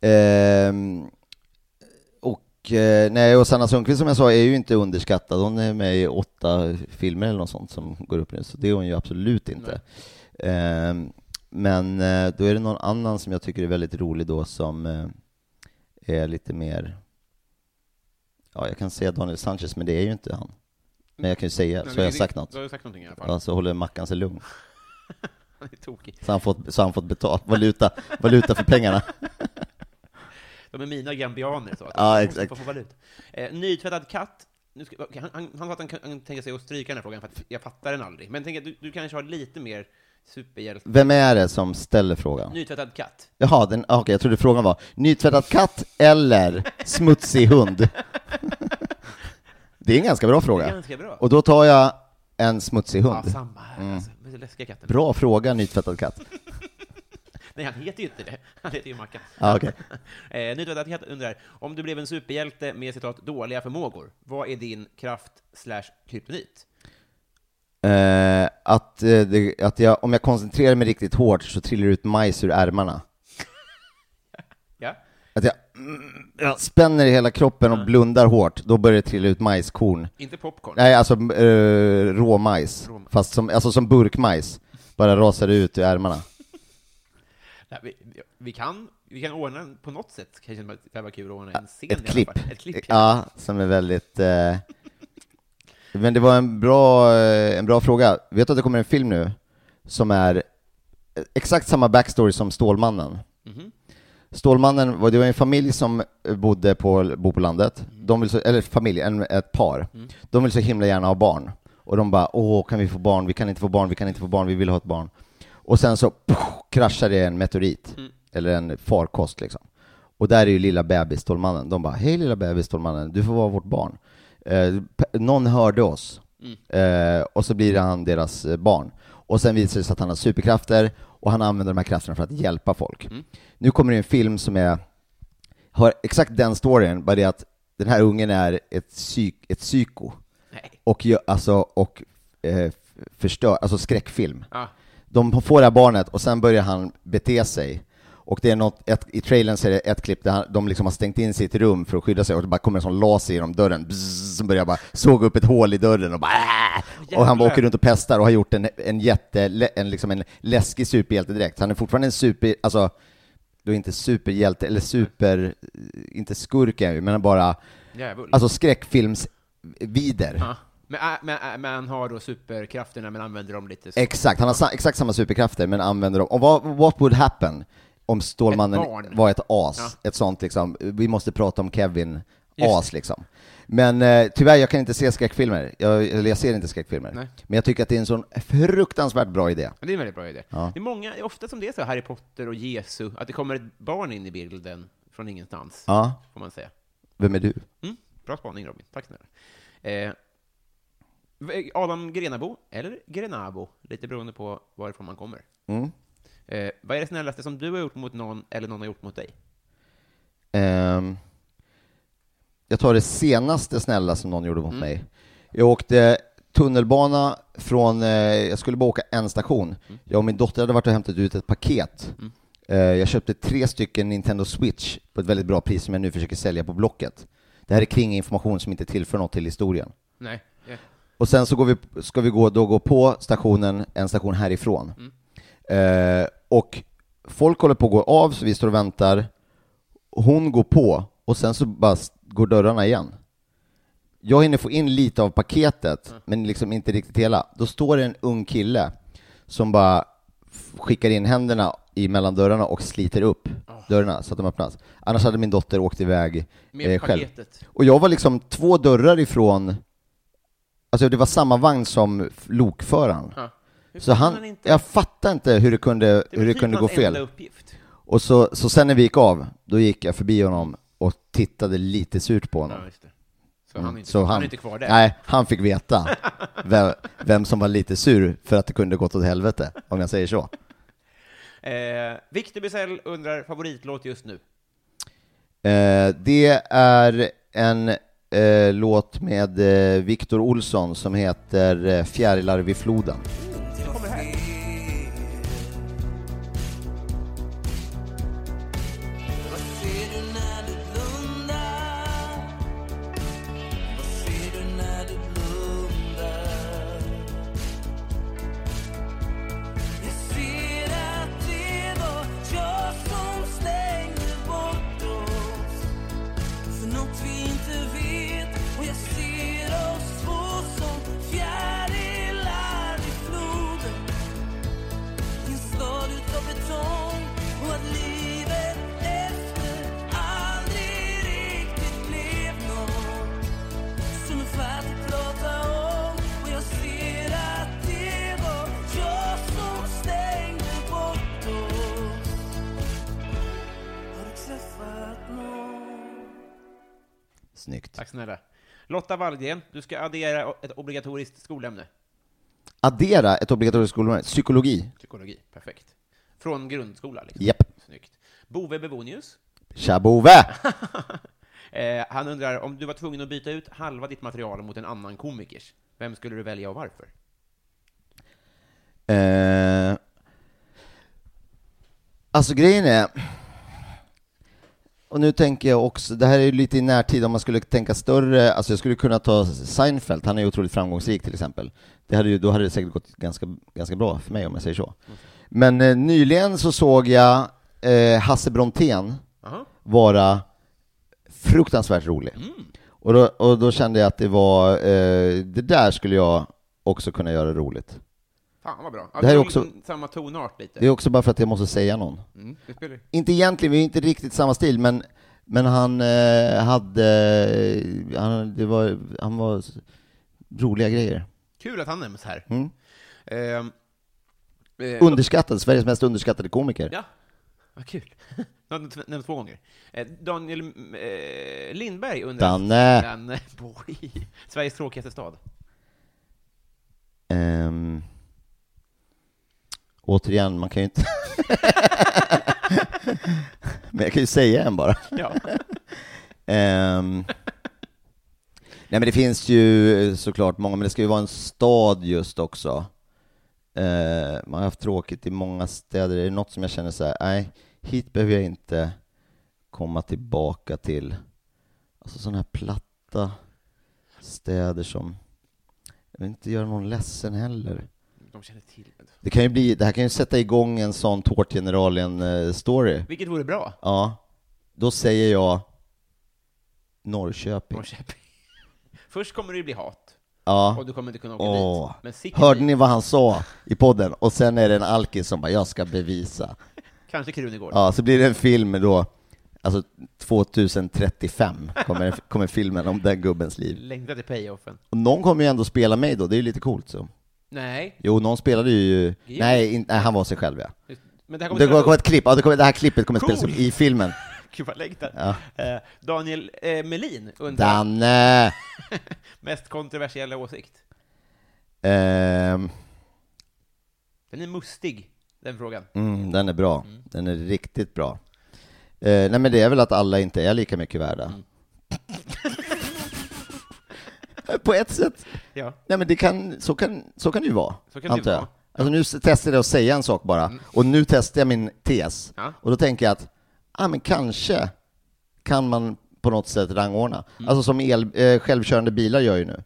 Speaker 3: Ehm, och, eh, nej, och Sanna Sundqvist som jag sa är ju inte underskattad, hon är med i åtta filmer eller något sånt som går upp nu, så det är hon ju absolut inte. Ehm, men eh, då är det någon annan som jag tycker är väldigt rolig då som eh, är lite mer, ja jag kan säga Daniel Sanchez men det är ju inte han. Men jag kan ju säga,
Speaker 2: Nej,
Speaker 3: så
Speaker 2: det-
Speaker 3: har jag
Speaker 2: det-
Speaker 3: sagt något.
Speaker 2: Då har du sagt någonting i alla fall.
Speaker 3: Ja, så håller Mackan sig lugn.
Speaker 2: Han är [laughs] tokig.
Speaker 3: Så han fått, så han fått betalt, valuta, valuta för pengarna.
Speaker 2: De är mina gambianer, så att
Speaker 3: Ja,
Speaker 2: de
Speaker 3: exakt.
Speaker 2: måste få valut. Eh, nytvättad katt. Nu ska, okej, han, han, han sa att han, kan- han tänker sig att stryka den här frågan, för att jag fattar den aldrig. Men tänk, att du, du kanske har lite mer superhjälte...
Speaker 3: Vem är det som ställer frågan?
Speaker 2: Nytvättad katt.
Speaker 3: Jaha, den, ah, okej, jag trodde frågan var nytvättad katt eller smutsig hund? Det är en ganska bra
Speaker 2: Det är
Speaker 3: fråga.
Speaker 2: ganska bra.
Speaker 3: Och då tar jag en smutsig
Speaker 2: ja,
Speaker 3: hund.
Speaker 2: samma här alltså. Men så läskiga katten.
Speaker 3: Mm. Bra fråga, nytvättad katt.
Speaker 2: Nej, han heter ju inte det. Han heter ju Mackan.
Speaker 3: Ja, Ah, okej.
Speaker 2: [laughs] eh, nytvättad katt undrar, om du blev en superhjälte med citat dåliga förmågor, vad är din kraft slash kryptonit?
Speaker 3: Eh, att eh, det, att jag, om jag koncentrerar mig riktigt hårt så trillar det ut majs ur ärmarna.
Speaker 2: Ja?
Speaker 3: Att jag, mm, jag spänner i hela kroppen och blundar hårt, då börjar det trilla ut majskorn.
Speaker 2: Inte popcorn.
Speaker 3: Nej, alltså uh, råmajs.
Speaker 2: Råmajs.
Speaker 3: Fast som, alltså som burkmajs. Bara rasar det ut ur ärmarna.
Speaker 2: Nej, vi, vi, kan, vi kan ordna en- på något sätt, kanske det här var kul att ordna en scen i
Speaker 3: Ett
Speaker 2: alla
Speaker 3: klipp.
Speaker 2: fall. Ett klipp. Ja.
Speaker 3: Ja, som är väldigt... eh, Men det var en bra, eh, en bra fråga. Vet du att det kommer en film nu som är eh, exakt samma backstory som Stålmannen?
Speaker 2: Mhm.
Speaker 3: Stålmannen, var- det var en familj som eh, bodde på, bo på landet,
Speaker 2: Mhm.
Speaker 3: de vill så, eller familj, en, ett par.
Speaker 2: Mm.
Speaker 3: De vill så himla gärna ha barn. Och de bara, åh, kan vi få barn? Vi kan inte få barn, vi kan inte få barn, vi vill ha ett barn. Och sen så poff, kraschar det en meteorit,
Speaker 2: Mm.
Speaker 3: eller en farkost liksom. Och där är ju lilla bebis Stålmannen. De bara, hej lilla bebis Stålmannen, du får vara vårt barn. Eh, p- någon hörde oss. Eh, och så blir han deras eh, barn. Och sen visar det sig att han har superkrafter, och han använder de här krafterna för att hjälpa folk. Nu kommer det en film som är, har exakt den storyn, bara det att den här ungen är ett, psyk, ett psyko.
Speaker 2: Nej.
Speaker 3: Och, gör- alltså, och eh, f- förstör, alltså skräckfilm.
Speaker 2: Ja.
Speaker 3: De får det här barnet och sen börjar han bete sig. Och det är något, ett, i trailern så är det ett klipp där han, de liksom har stängt in sig i ett rum för att skydda sig och det bara kommer en sån laser genom dörren, bzzz, som börjar bara såga upp ett hål i dörren och bara äh! Och han bara
Speaker 2: Jävlar.
Speaker 3: åker runt och pestar och har gjort en, en jätte, en, liksom en läskig superhjälte direkt. Han är fortfarande en super, alltså, då är inte superhjälte, eller super, inte skurk är han ju, men bara,
Speaker 2: Djävul.
Speaker 3: alltså skräckfilmsvider.
Speaker 2: Ja. Men, äh, men, äh, men han har då superkrafterna, men använder dem lite så.
Speaker 3: Exakt, han har sa- exakt samma superkrafter men använder dem. Och vad, what would happen om Stålmannen
Speaker 2: Ett barn.
Speaker 3: var ett as? Ett sånt liksom, vi måste prata om Kevin, as liksom. Men eh, tyvärr, jag kan inte se skräckfilmer. Jag, eller jag ser inte skräckfilmer.
Speaker 2: Nej.
Speaker 3: Men jag tycker att det är en sån fruktansvärt bra idé.
Speaker 2: Men det är en väldigt bra idé. Det är många, det är ofta som det är så, Harry Potter och Jesu, att det kommer ett barn in i bilden från ingenstans,
Speaker 3: Ja,
Speaker 2: får man säga.
Speaker 3: vem är du?
Speaker 2: Mm, bra spaning Robin, tack snälla. Eh, Adam Grenabo, eller Grenabo, lite beroende på varifrån man kommer.
Speaker 3: Mm.
Speaker 2: Eh, vad är det snällaste som du har gjort mot någon, eller någon har gjort mot dig?
Speaker 3: Ehm, jag tar det senaste snälla som någon gjorde mot mig. Jag åkte tunnelbana från, eh, jag skulle bara åka en station. Jag och min dotter hade varit och hämtat ut ett paket. Eh, jag köpte tre stycken Nintendo Switch på ett väldigt bra pris som jag nu försöker sälja på Blocket. Det här är kring information som inte tillför något till historien.
Speaker 2: Nej. eh,
Speaker 3: Och sen så går vi, ska vi gå, då gå på stationen, en station härifrån. Eh, och folk håller på att gå av, så vi står och väntar. Hon går på, och sen så bara s- går dörrarna igen. Jag hinner få in lite av paketet, men liksom inte riktigt hela. Då står det en ung kille som bara f- skickar in händerna i mellan dörrarna och sliter upp dörrarna så att de öppnas. Annars hade min dotter åkt iväg
Speaker 2: Med
Speaker 3: eh, själv.
Speaker 2: paketet.
Speaker 3: Och jag var liksom två dörrar ifrån, alltså det var samma vagn som f- lokföraren.
Speaker 2: Ja. Hur
Speaker 3: Så
Speaker 2: kan
Speaker 3: han,
Speaker 2: han inte-
Speaker 3: jag fattar inte hur det kunde,
Speaker 2: Det
Speaker 3: hur
Speaker 2: var
Speaker 3: det
Speaker 2: typ
Speaker 3: kunde gå
Speaker 2: hans
Speaker 3: fel.
Speaker 2: enda uppgift.
Speaker 3: Och så, så sen när vi gick av, då gick jag förbi honom och tittade lite surt på honom.
Speaker 2: Ja, just det. Så, han, är inte,
Speaker 3: Mm. Så
Speaker 2: han, är inte kvar där.
Speaker 3: Nej, han
Speaker 2: [laughs]
Speaker 3: fick veta vem, vem som var lite sur för att det kunde gått åt helvete, om jag säger så.
Speaker 2: Eh, Victor Bizell undrar favoritlåt just nu.
Speaker 3: Eh, det är en eh, låt med eh, Viktor Olsson som heter eh, Fjärilar vid floden. Snyggt.
Speaker 2: Tack snälla. Lotta Wallgren, du ska addera o- ett obligatoriskt skolämne.
Speaker 3: Addera ett obligatoriskt skolämne, psykologi.
Speaker 2: Psykologi. Perfekt. Från grundskola, liksom.
Speaker 3: Japp.
Speaker 2: Snyggt. Bove Bebonius,
Speaker 3: Tja Bove!
Speaker 2: [laughs] eh, han undrar om du var tvungen att byta ut halva ditt material mot en annan komikers, vem skulle du välja och varför?
Speaker 3: Eh, alltså grejen är, och nu tänker jag också, det här är ju lite i närtid, om man skulle tänka större, alltså jag skulle kunna ta Seinfeld, han är ju otroligt framgångsrik till exempel. Det hade ju, då hade det säkert gått ganska, ganska bra för mig om jag säger så. Men eh, nyligen så såg jag eh, Hasse Brontén
Speaker 2: Aha.
Speaker 3: vara fruktansvärt rolig. Och, då, och då kände jag att det var, eh, det där skulle jag också kunna göra roligt.
Speaker 2: Fan vad bra.
Speaker 3: Det här är
Speaker 2: Ja,
Speaker 3: också-
Speaker 2: Samma tonart lite.
Speaker 3: Det är också bara för att jag måste säga någon.
Speaker 2: Mm, det spelar ju-
Speaker 3: Inte egentligen, vi är inte riktigt samma stil, men, men han eh, hade, eh, han, det var, han var s- roliga grejer.
Speaker 2: Kul att han nämns här.
Speaker 3: Mm.
Speaker 2: Ehm, eh,
Speaker 3: Underskattad, Sveriges mest underskattade komiker.
Speaker 2: Ja, vad kul. [laughs] Jag har t- nämnt två gånger. Eh, Daniel mm, eh, Lindberg undrar...
Speaker 3: Danne.
Speaker 2: Danne [laughs] Borg. Sveriges tråkigaste stad.
Speaker 3: Ehm, återigen, man kan ju inte... [laughs] men jag kan ju säga en bara.
Speaker 2: Ja.
Speaker 3: Ehm, nej men det finns ju eh, såklart många, men det ska ju vara en stad just också. Eh, man har haft tråkigt i många städer, är det något som jag känner så här, nej, hit behöver jag inte komma tillbaka till. Alltså sådana här platta städer som, jag vill inte göra någon ledsen heller.
Speaker 2: [laughs] De känner till det.
Speaker 3: Det kan ju bli, det här kan ju sätta igång en sån Tårtgeneralen-story.
Speaker 2: Vilket vore bra.
Speaker 3: Ja, då säger jag Norrköping.
Speaker 2: Norrköping. [laughs] Först kommer det ju bli hat,
Speaker 3: Ja.
Speaker 2: och du kommer inte kunna åka
Speaker 3: Åh.
Speaker 2: dit. Men sitter
Speaker 3: Hörde
Speaker 2: dit,
Speaker 3: ni vad han sa i podden? Och sen är det en alkis som bara, jag ska bevisa.
Speaker 2: kanske Krunegård.
Speaker 3: Ja, så blir det en film då, alltså 2035 kommer, kommer filmen om den gubbens liv.
Speaker 2: Längtar till payoffen.
Speaker 3: Och någon kommer ju ändå spela mig då, det är ju lite coolt så.
Speaker 2: Nej,
Speaker 3: Jo, någon spelade ju,
Speaker 2: Gil?
Speaker 3: nej, in, nej han var sig själv ja.
Speaker 2: just- men det här kommer
Speaker 3: Det
Speaker 2: spela
Speaker 3: kommer komma
Speaker 2: upp.
Speaker 3: ett klipp, ja, det, kommer, det här klippet kommer spelas
Speaker 2: Cool.
Speaker 3: upp i filmen.
Speaker 2: [laughs] Gud vad jag längtar.
Speaker 3: Ja.
Speaker 2: Eh, Daniel eh, Melin undrar,
Speaker 3: Danne!
Speaker 2: mest kontroversiella åsikt?
Speaker 3: Ehm,
Speaker 2: Den är mustig, den frågan.
Speaker 3: Mm, den är bra. Den är riktigt bra. Eh, nej men det är väl att alla inte är lika mycket värda.
Speaker 2: Mm.
Speaker 3: [laughs] På ett sätt,
Speaker 2: Ja.
Speaker 3: nej men det kan, så, kan, så kan det ju vara,
Speaker 2: Så kan det ju
Speaker 3: antar jag.
Speaker 2: vara. Mm.
Speaker 3: Alltså nu s- testade jag att säga en sak bara, och nu testar jag min tes.
Speaker 2: Ja.
Speaker 3: Och då tänker jag att, ah, men kanske
Speaker 2: Mm.
Speaker 3: kan man på något sätt rangordna. Alltså som el, eh, självkörande bilar gör ju nu.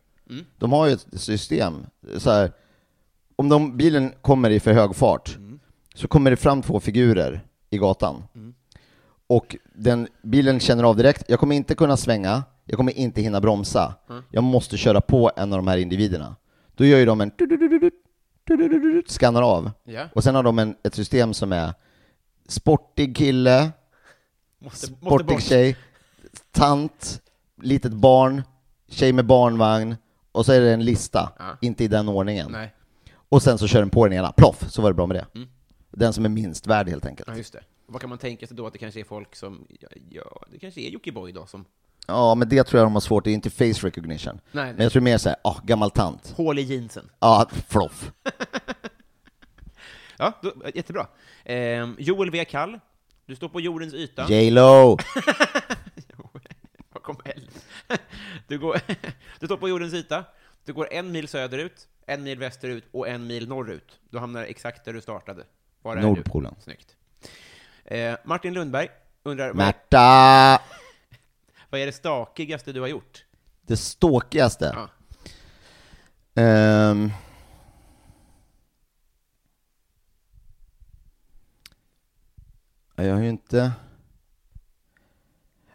Speaker 3: De har ju ett system, så här, om de, bilen kommer i för hög fart
Speaker 2: Mm.
Speaker 3: så kommer det fram två figurer i gatan. Och den, bilen känner av direkt, jag kommer inte kunna svänga, jag kommer inte hinna bromsa.
Speaker 2: Mm.
Speaker 3: Jag måste köra på en av de här individerna. Då gör ju de en tududududut, tududududut, skannar av.
Speaker 2: Ja.
Speaker 3: Och sen har de en, ett system som är sportig kille,
Speaker 2: Måste, måste
Speaker 3: sportig
Speaker 2: bort.
Speaker 3: tjej, tant, litet barn, tjej med barnvagn, och så är det en lista,
Speaker 2: Ja.
Speaker 3: inte i den ordningen.
Speaker 2: Nej,
Speaker 3: Och sen så kör den på den ena, ploff, så var det bra med det. Den som är minst värd helt enkelt.
Speaker 2: Mm. ja, just det. Vad kan man tänka sig då att det kanske är folk som, ja, ja det kanske är Jockiboi då som
Speaker 3: Ja, men det tror jag de har svårt, det är inte face recognition.
Speaker 2: Nej, nej.
Speaker 3: Men jag tror mer såhär, ah, gammal tant.
Speaker 2: hål i jeansen.
Speaker 3: Ja, floff.
Speaker 2: Ja, då, jättebra. Ehm, Joel V. Kall, du står på jordens yta.
Speaker 3: J.Lo!
Speaker 2: [laughs] Vad kom L? [laughs] Du, går, [laughs] du står på jordens yta, du går en mil söderut, en mil västerut och en mil norrut. Du hamnar exakt där du startade. Var är
Speaker 3: Nordpolen.
Speaker 2: Du? Snyggt. Eh, Martin Lundberg undrar, vad,
Speaker 3: Märta!
Speaker 2: vad är det stakigaste du har gjort?
Speaker 3: Det ståkigaste.
Speaker 2: Ja.
Speaker 3: Ehm. Ja, Jag har ju inte...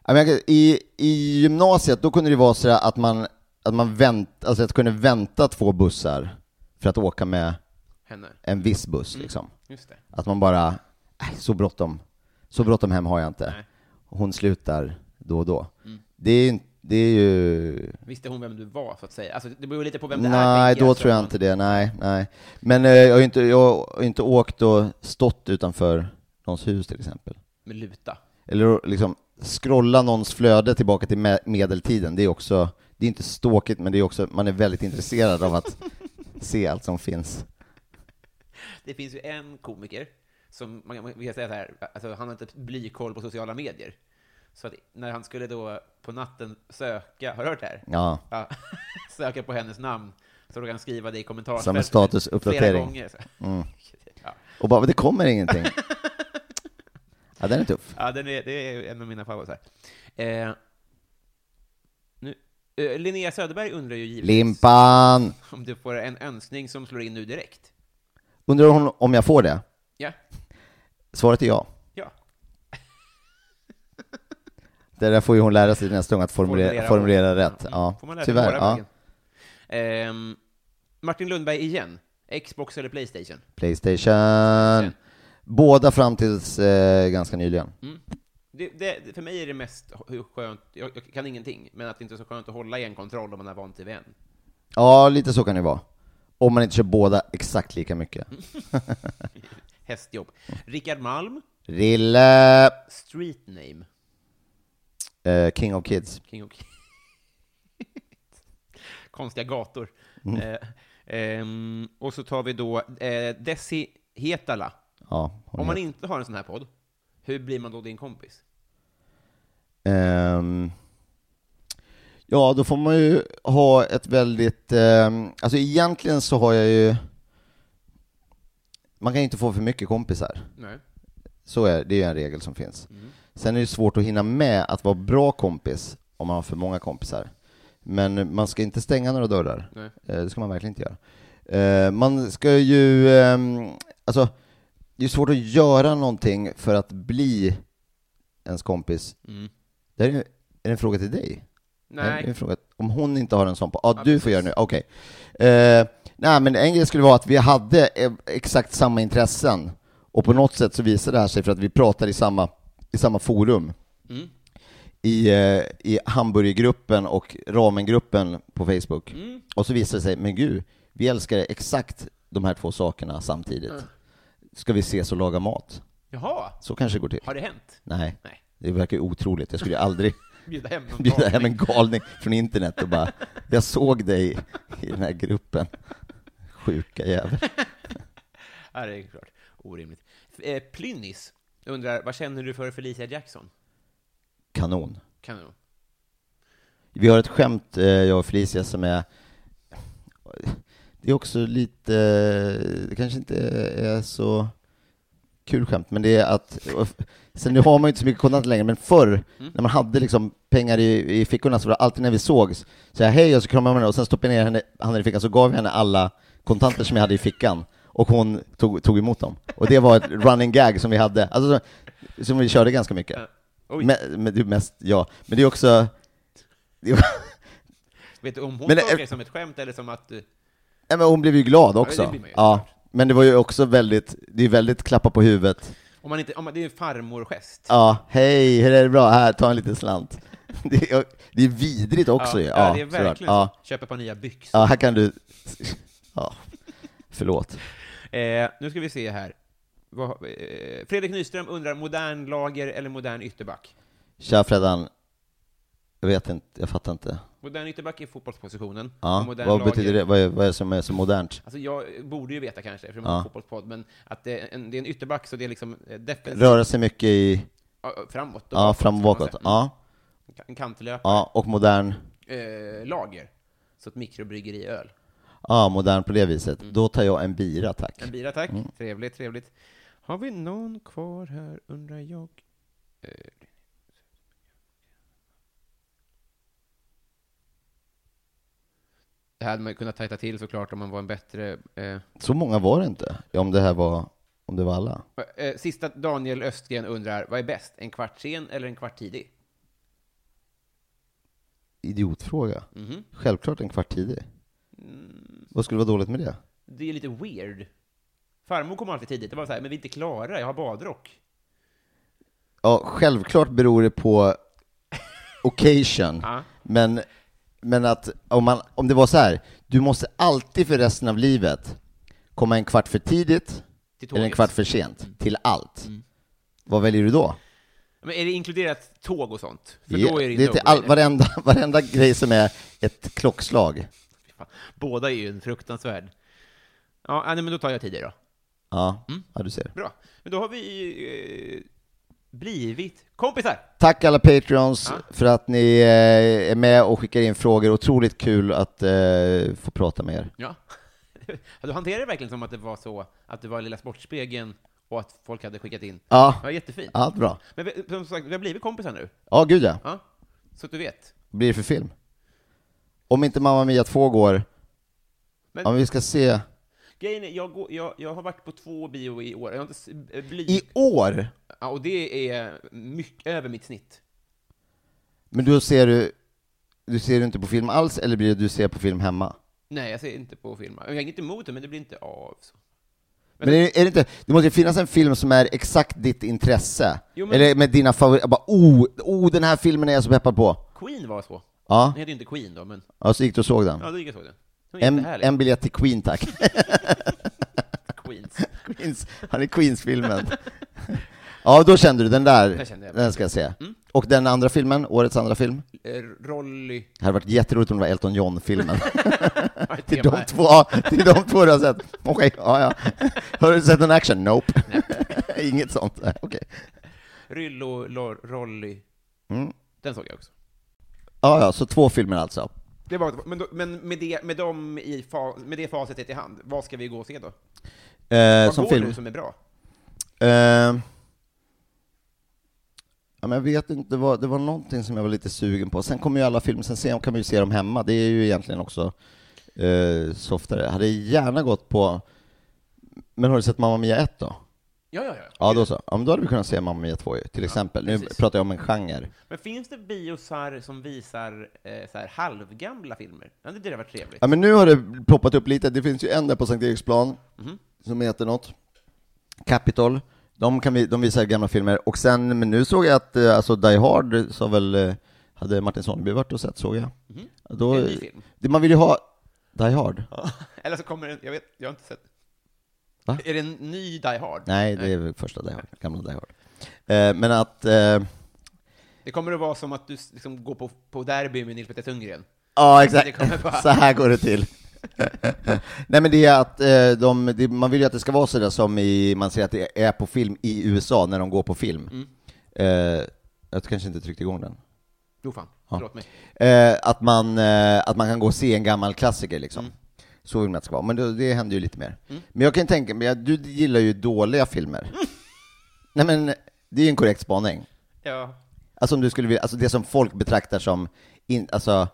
Speaker 3: Ja, men jag kan- I, I gymnasiet, då kunde det vara så att man, att man vänt, alltså att kunde vänta två bussar för att åka med
Speaker 2: Henne.
Speaker 3: en viss buss liksom.
Speaker 2: Just det.
Speaker 3: Att man bara, "Äh, så bråttom, så bråttom hem har jag inte. Hon slutar då och då. Det, är, ju- det är ju
Speaker 2: Visste hon vem du var, så att säga? Alltså, det beror lite på vem det är.
Speaker 3: Nej,
Speaker 2: tänker
Speaker 3: då tror jag
Speaker 2: så.
Speaker 3: inte det. Nej, nej. Men eh, jag har ju inte, jag har inte åkt och stått utanför någons hus till exempel.
Speaker 2: Med luta.
Speaker 3: Eller liksom scrolla någons flöde tillbaka till me- medeltiden. Det är också, det är inte ståkigt, men det är också, man är väldigt intresserad
Speaker 2: [laughs]
Speaker 3: av att se allt som finns.
Speaker 2: Det finns ju en komiker som, man kan, man kan säga så här, alltså, han har inte blykoll på sociala medier. Så att när han skulle då på natten söka, har du hört det här?
Speaker 3: Ja.
Speaker 2: Ja, [laughs] söka på hennes namn, så då kan han skriva det i kommentarsfältet.
Speaker 3: Som en statusuppdatering. Mm.
Speaker 2: Flera gånger. så. [laughs] Ja.
Speaker 3: Och bara, det kommer ingenting. Ja, den är tuff.
Speaker 2: Ja, den är, det är en av mina favoriter. Eh, nu, eh, Linnea Söderberg undrar ju givetvis
Speaker 3: Limpan!
Speaker 2: om du får en önskning som slår in nu direkt.
Speaker 3: Undrar hon om jag får det?
Speaker 2: Ja,
Speaker 3: Svaret är ja.
Speaker 2: ja.
Speaker 3: Det där får ju hon lära sig nästa gång, att formulera, formulera rätt.
Speaker 2: Mm.
Speaker 3: Ja,
Speaker 2: Får man lära sig
Speaker 3: tyvärr.
Speaker 2: våra
Speaker 3: Ja.
Speaker 2: vägen. Ehm, Martin Lundberg igen. Xbox eller Playstation?
Speaker 3: Playstation. Båda fram tills eh, ganska nyligen.
Speaker 2: Mm. Det, det, för mig är det mest hur skönt, jag, jag kan ingenting, men att det inte är så skönt att hålla i en kontroll om man är van till en.
Speaker 3: Ja, lite så kan det vara. Om man inte kör båda exakt lika mycket.
Speaker 2: Mm. Hästjobb. Rickard Malm,
Speaker 3: Rille,
Speaker 2: street name.
Speaker 3: eh, King of Kids.
Speaker 2: King och [laughs] Konstiga gator.
Speaker 3: Mm.
Speaker 2: Eh, ehm, och så tar vi då eh, Desi Hetala.
Speaker 3: Ja, hon
Speaker 2: Om man
Speaker 3: heter-
Speaker 2: inte har en sån här podd, hur blir man då din kompis?
Speaker 3: Ehm, ja, då får man ju ha ett väldigt... ehm, alltså egentligen så har jag ju... Man kan ju inte få för mycket kompisar.
Speaker 2: Nej.
Speaker 3: Så är det, det är ju en regel som finns. Sen är det svårt att hinna med att vara bra kompis om man har för många kompisar. Men man ska inte stänga några dörrar.
Speaker 2: Nej.
Speaker 3: Eh, Det ska man verkligen inte göra. Eh, Man ska ju, ehm, alltså, det är svårt att göra någonting för att bli ens kompis. Det här är, ju- är det en fråga till dig? Nej, det är
Speaker 2: Nej.
Speaker 3: en fråga. Om hon inte har en sån på, ja du får göra nu, okej. Eh, nej men en grej skulle vara att vi hade eh, exakt samma intressen och på något sätt så visar det här sig för att vi pratar i samma, i samma forum.
Speaker 2: Mm.
Speaker 3: I, eh, I hamburgergruppen och ramengruppen på Facebook.
Speaker 2: Mm.
Speaker 3: Och så visar det sig, men gud, vi älskar exakt de här två sakerna samtidigt.
Speaker 2: Mm.
Speaker 3: Ska vi ses och laga mat?
Speaker 2: Jaha,
Speaker 3: Så kanske det går till.
Speaker 2: har det hänt?
Speaker 3: Nej,
Speaker 2: Nej.
Speaker 3: det verkar ju otroligt. Jag skulle ju aldrig
Speaker 2: Bjuda hem någon
Speaker 3: bjuda hem
Speaker 2: galning.
Speaker 3: en galning från internet och bara ”jag såg dig i den här gruppen”. Sjuka jävel.
Speaker 2: Ja, det är klart. Orimligt. F- eh, Plynnis undrar, vad känner du för Felicia Jackson?
Speaker 3: Kanon.
Speaker 2: Kanon.
Speaker 3: Vi har ett skämt, eh, jag och Felicia, som är... Det är också lite... Det kanske inte är så kul skämt, men det är att, sen nu har man ju inte så mycket kontanter längre, men förr när man hade liksom pengar i, i fickorna så var det alltid när vi sågs, så jag hej och så kramade man henne och sen stoppade jag ner henne, handen i fickan så gav jag henne alla kontanter som jag hade i fickan och hon tog, tog emot dem. Och det var ett running gag som vi hade, alltså som, som vi körde ganska mycket.
Speaker 2: Oj.
Speaker 3: Men, men det är mest jag, men det är också, det är,
Speaker 2: Vet du om hon
Speaker 3: Men,
Speaker 2: tog
Speaker 3: eh,
Speaker 2: det som ett skämt eller som att... eh,
Speaker 3: Nej, men hon blev ju glad också.
Speaker 2: det
Speaker 3: Ja,
Speaker 2: blir man ju,
Speaker 3: men det var ju också väldigt, det är väldigt klappa på huvudet.
Speaker 2: Om man inte, om man, det är en farmorgest.
Speaker 3: Ja, hej, hur är det bra? Här, ta en liten slant. [laughs] Det är, det är vidrigt också ju.
Speaker 2: ja, det är
Speaker 3: såklart.
Speaker 2: verkligen
Speaker 3: ja.
Speaker 2: så. Köper ett par nya byxor.
Speaker 3: ja, här kan du... [laughs] Ja, förlåt.
Speaker 2: Eh, nu ska vi se här. Vad, eh, Fredrik Nyström undrar, modern lager eller modern ytterback?
Speaker 3: Tja Freddan. Jag vet inte, jag fattar inte.
Speaker 2: Modern ytterback är fotbollspositionen. och
Speaker 3: Ja,
Speaker 2: modern
Speaker 3: vad
Speaker 2: lager-
Speaker 3: betyder det? Vad är, vad är det som är så modernt?
Speaker 2: Alltså jag borde ju veta kanske, eftersom det är en
Speaker 3: Ja.
Speaker 2: fotbollspodd, men att det är en, det är en ytterback, så det är liksom eh, defensivt,
Speaker 3: Röra sig mycket i...
Speaker 2: ja, framåt och
Speaker 3: Ja,
Speaker 2: bakåt,
Speaker 3: fram
Speaker 2: kan man
Speaker 3: och bakåt.
Speaker 2: säga.
Speaker 3: Ja,
Speaker 2: Mm. En kantlöpare.
Speaker 3: ja, och modern.
Speaker 2: Eh, lager. Så ett mikrobryggeriöl.
Speaker 3: Ja, modern på det viset. Då tar jag en bira, tack.
Speaker 2: Mm. En bira, tack.
Speaker 3: Mm.
Speaker 2: Trevligt, trevligt. Har vi någon kvar här, undrar jag? Eh, Det här hade man ju kunnat tajta till såklart om man var en bättre... Eh,
Speaker 3: Så många var det inte, Ja, om det här var, om det var alla.
Speaker 2: eh, sista Daniel Östgren undrar, vad är bäst? En kvart sen eller en kvart tidig?
Speaker 3: Idiotfråga.
Speaker 2: Mhm. Mm.
Speaker 3: Självklart en kvart tidig. Vad skulle vara dåligt med det?
Speaker 2: Det är lite weird. Farmor kom alltid tidigt. Det var så här, men vi är inte klara, jag har badrock.
Speaker 3: Ja, självklart beror det på occasion.
Speaker 2: Ja.
Speaker 3: men, men att om, man, om det var så här, du måste alltid för resten av livet komma en kvart för tidigt
Speaker 2: Till
Speaker 3: eller en
Speaker 2: tåget. Mm.
Speaker 3: kvart för sent till allt. Vad väljer du då?
Speaker 2: Men är det inkluderat tåg och sånt? För
Speaker 3: Ja,
Speaker 2: då är det,
Speaker 3: det är
Speaker 2: inte
Speaker 3: till all,
Speaker 2: upgrade.
Speaker 3: varenda, [laughs] varenda grej som är ett klockslag.
Speaker 2: Fan, Båda är ju en fruktansvärd. Ja, nej, men då tar jag tidig då.
Speaker 3: Ja,
Speaker 2: Mm.
Speaker 3: ja du ser.
Speaker 2: Bra. Men då har vi eh, blivit kompisar.
Speaker 3: Tack alla Patreons för att ni eh, är med och skickar in frågor. Otroligt kul att eh, få prata med er.
Speaker 2: Ja. [laughs] Du hanterade det verkligen som att det var så att det var Lilla Sportspegeln och att folk hade skickat in.
Speaker 3: Ja,
Speaker 2: Ja, jättefint.
Speaker 3: allt bra.
Speaker 2: Men vi, som sagt, vi har blivit kompisar nu.
Speaker 3: Ja, gud ja.
Speaker 2: Ja. Så att du vet.
Speaker 3: Vad blir det för film? Om inte Mamma Mia 2 går,
Speaker 2: Men-
Speaker 3: ja, men vi ska se.
Speaker 2: Grejen är, jag, går, jag, jag har varit på två bio i år. Jag har inte s- eh, bly...
Speaker 3: I år?
Speaker 2: Ja, och det är mycket över mitt snitt.
Speaker 3: Men då ser du, du ser inte på film alls, eller blir det du ser på film hemma?
Speaker 2: Nej, jag ser inte på film. Jag är inte emot det, men det blir inte av. Så.
Speaker 3: Men är, det- är det inte, det måste ju finnas en film som är exakt ditt intresse.
Speaker 2: Jo, men-
Speaker 3: Eller med dina favoriter, bara oh, oh, den här filmen är jag så peppad på.
Speaker 2: Queen var så.
Speaker 3: Ja,
Speaker 2: Den heter ju inte Queen då, men
Speaker 3: ja så gick du och såg den.
Speaker 2: ja, då gick jag och såg den. Den var
Speaker 3: En,
Speaker 2: jättehärlig.
Speaker 3: en biljett till Queen tack.
Speaker 2: Queens.
Speaker 3: [laughs] Queens, han är Queens-filmen. Ja, då kände du den där,
Speaker 2: Den kände jag. Mm.
Speaker 3: den ska jag se. Och den andra filmen, årets andra film?
Speaker 2: Eh, Rolly...
Speaker 3: Det hade varit jätteroligt om det var
Speaker 2: [laughs]
Speaker 3: Elton John-filmen.
Speaker 2: Ja, tema
Speaker 3: till, [laughs] de
Speaker 2: här.
Speaker 3: två, ja, till de två du har sett. Okej, ja, ja. Har du sett en action? Nope. [laughs] Inget sånt. Nej, Okej.
Speaker 2: Ryllo, Lor- Rolly.
Speaker 3: Mm.
Speaker 2: Den såg jag också.
Speaker 3: Ja, ja, så två filmer alltså.
Speaker 2: Det var, men då, men med, det, med, dem i fa, med det facitet i hand, vad ska vi gå och se då?
Speaker 3: Eh,
Speaker 2: Vad
Speaker 3: som
Speaker 2: går
Speaker 3: film.
Speaker 2: nu som är bra?
Speaker 3: Eh, ja, men jag vet inte, det var, det var någonting som jag var lite sugen på. Sen kommer ju alla filmer, sen ser, kan man ju se dem hemma. Det är ju egentligen också eh, softare. Hade gärna gått på... Men har du sett Mamma Mia 1 då?
Speaker 2: Ja, ja, ja.
Speaker 3: Ja, då så. Ja, men då hade vi kunnat se Mamma Mia 2 ju, till exempel. Nu
Speaker 2: precis.
Speaker 3: pratar jag om en genre.
Speaker 2: Men finns det biosar som visar eh, så här, halvgamla filmer? Ja, det hade varit trevligt.
Speaker 3: Ja, men nu har det ploppat upp lite. Det finns ju en där på Sankt Eriksplan
Speaker 2: Mhm.
Speaker 3: som heter något. Capital. De, kan vi, de visar gamla filmer. Och sen, men nu såg jag att eh, alltså Die Hard sa väl, eh, hade Martin Sonneby varit och sett såg jag. Då,
Speaker 2: Mhm. En ny film.
Speaker 3: det, man vill ju ha Die Hard.
Speaker 2: Eller så kommer den, jag vet, jag har inte sett.
Speaker 3: Va?
Speaker 2: Är det en ny Die Hard?
Speaker 3: Nej, det är väl första Die Hard, gamla Die Hard. Eh, men att, eh,
Speaker 2: Det kommer att vara som att du s- liksom går på, på derby med Nils Petter Sundgren.
Speaker 3: ja
Speaker 2: Det kommer bara-
Speaker 3: exakt, [laughs] så här går
Speaker 2: [laughs]
Speaker 3: det till. Nej men det är att eh, de, det, man vill ju att det ska vara sådär som i, man ser att det är på film i USA när de går på film.
Speaker 2: Mm.
Speaker 3: Eh, jag kanske inte tryckte igång den.
Speaker 2: Jo fan, förlåt mig.
Speaker 3: Eh, att, man, eh, att man kan gå och se en gammal klassiker liksom.
Speaker 2: Mm. Mm.
Speaker 3: Så vill man att det ska vara, men det, det händer ju lite mer. Men jag kan ju tänka mig, du gillar ju dåliga filmer. Nej men, det är ju en korrekt spaning.
Speaker 2: Ja.
Speaker 3: Alltså om du skulle vilja, alltså det som folk betraktar som, in, alltså,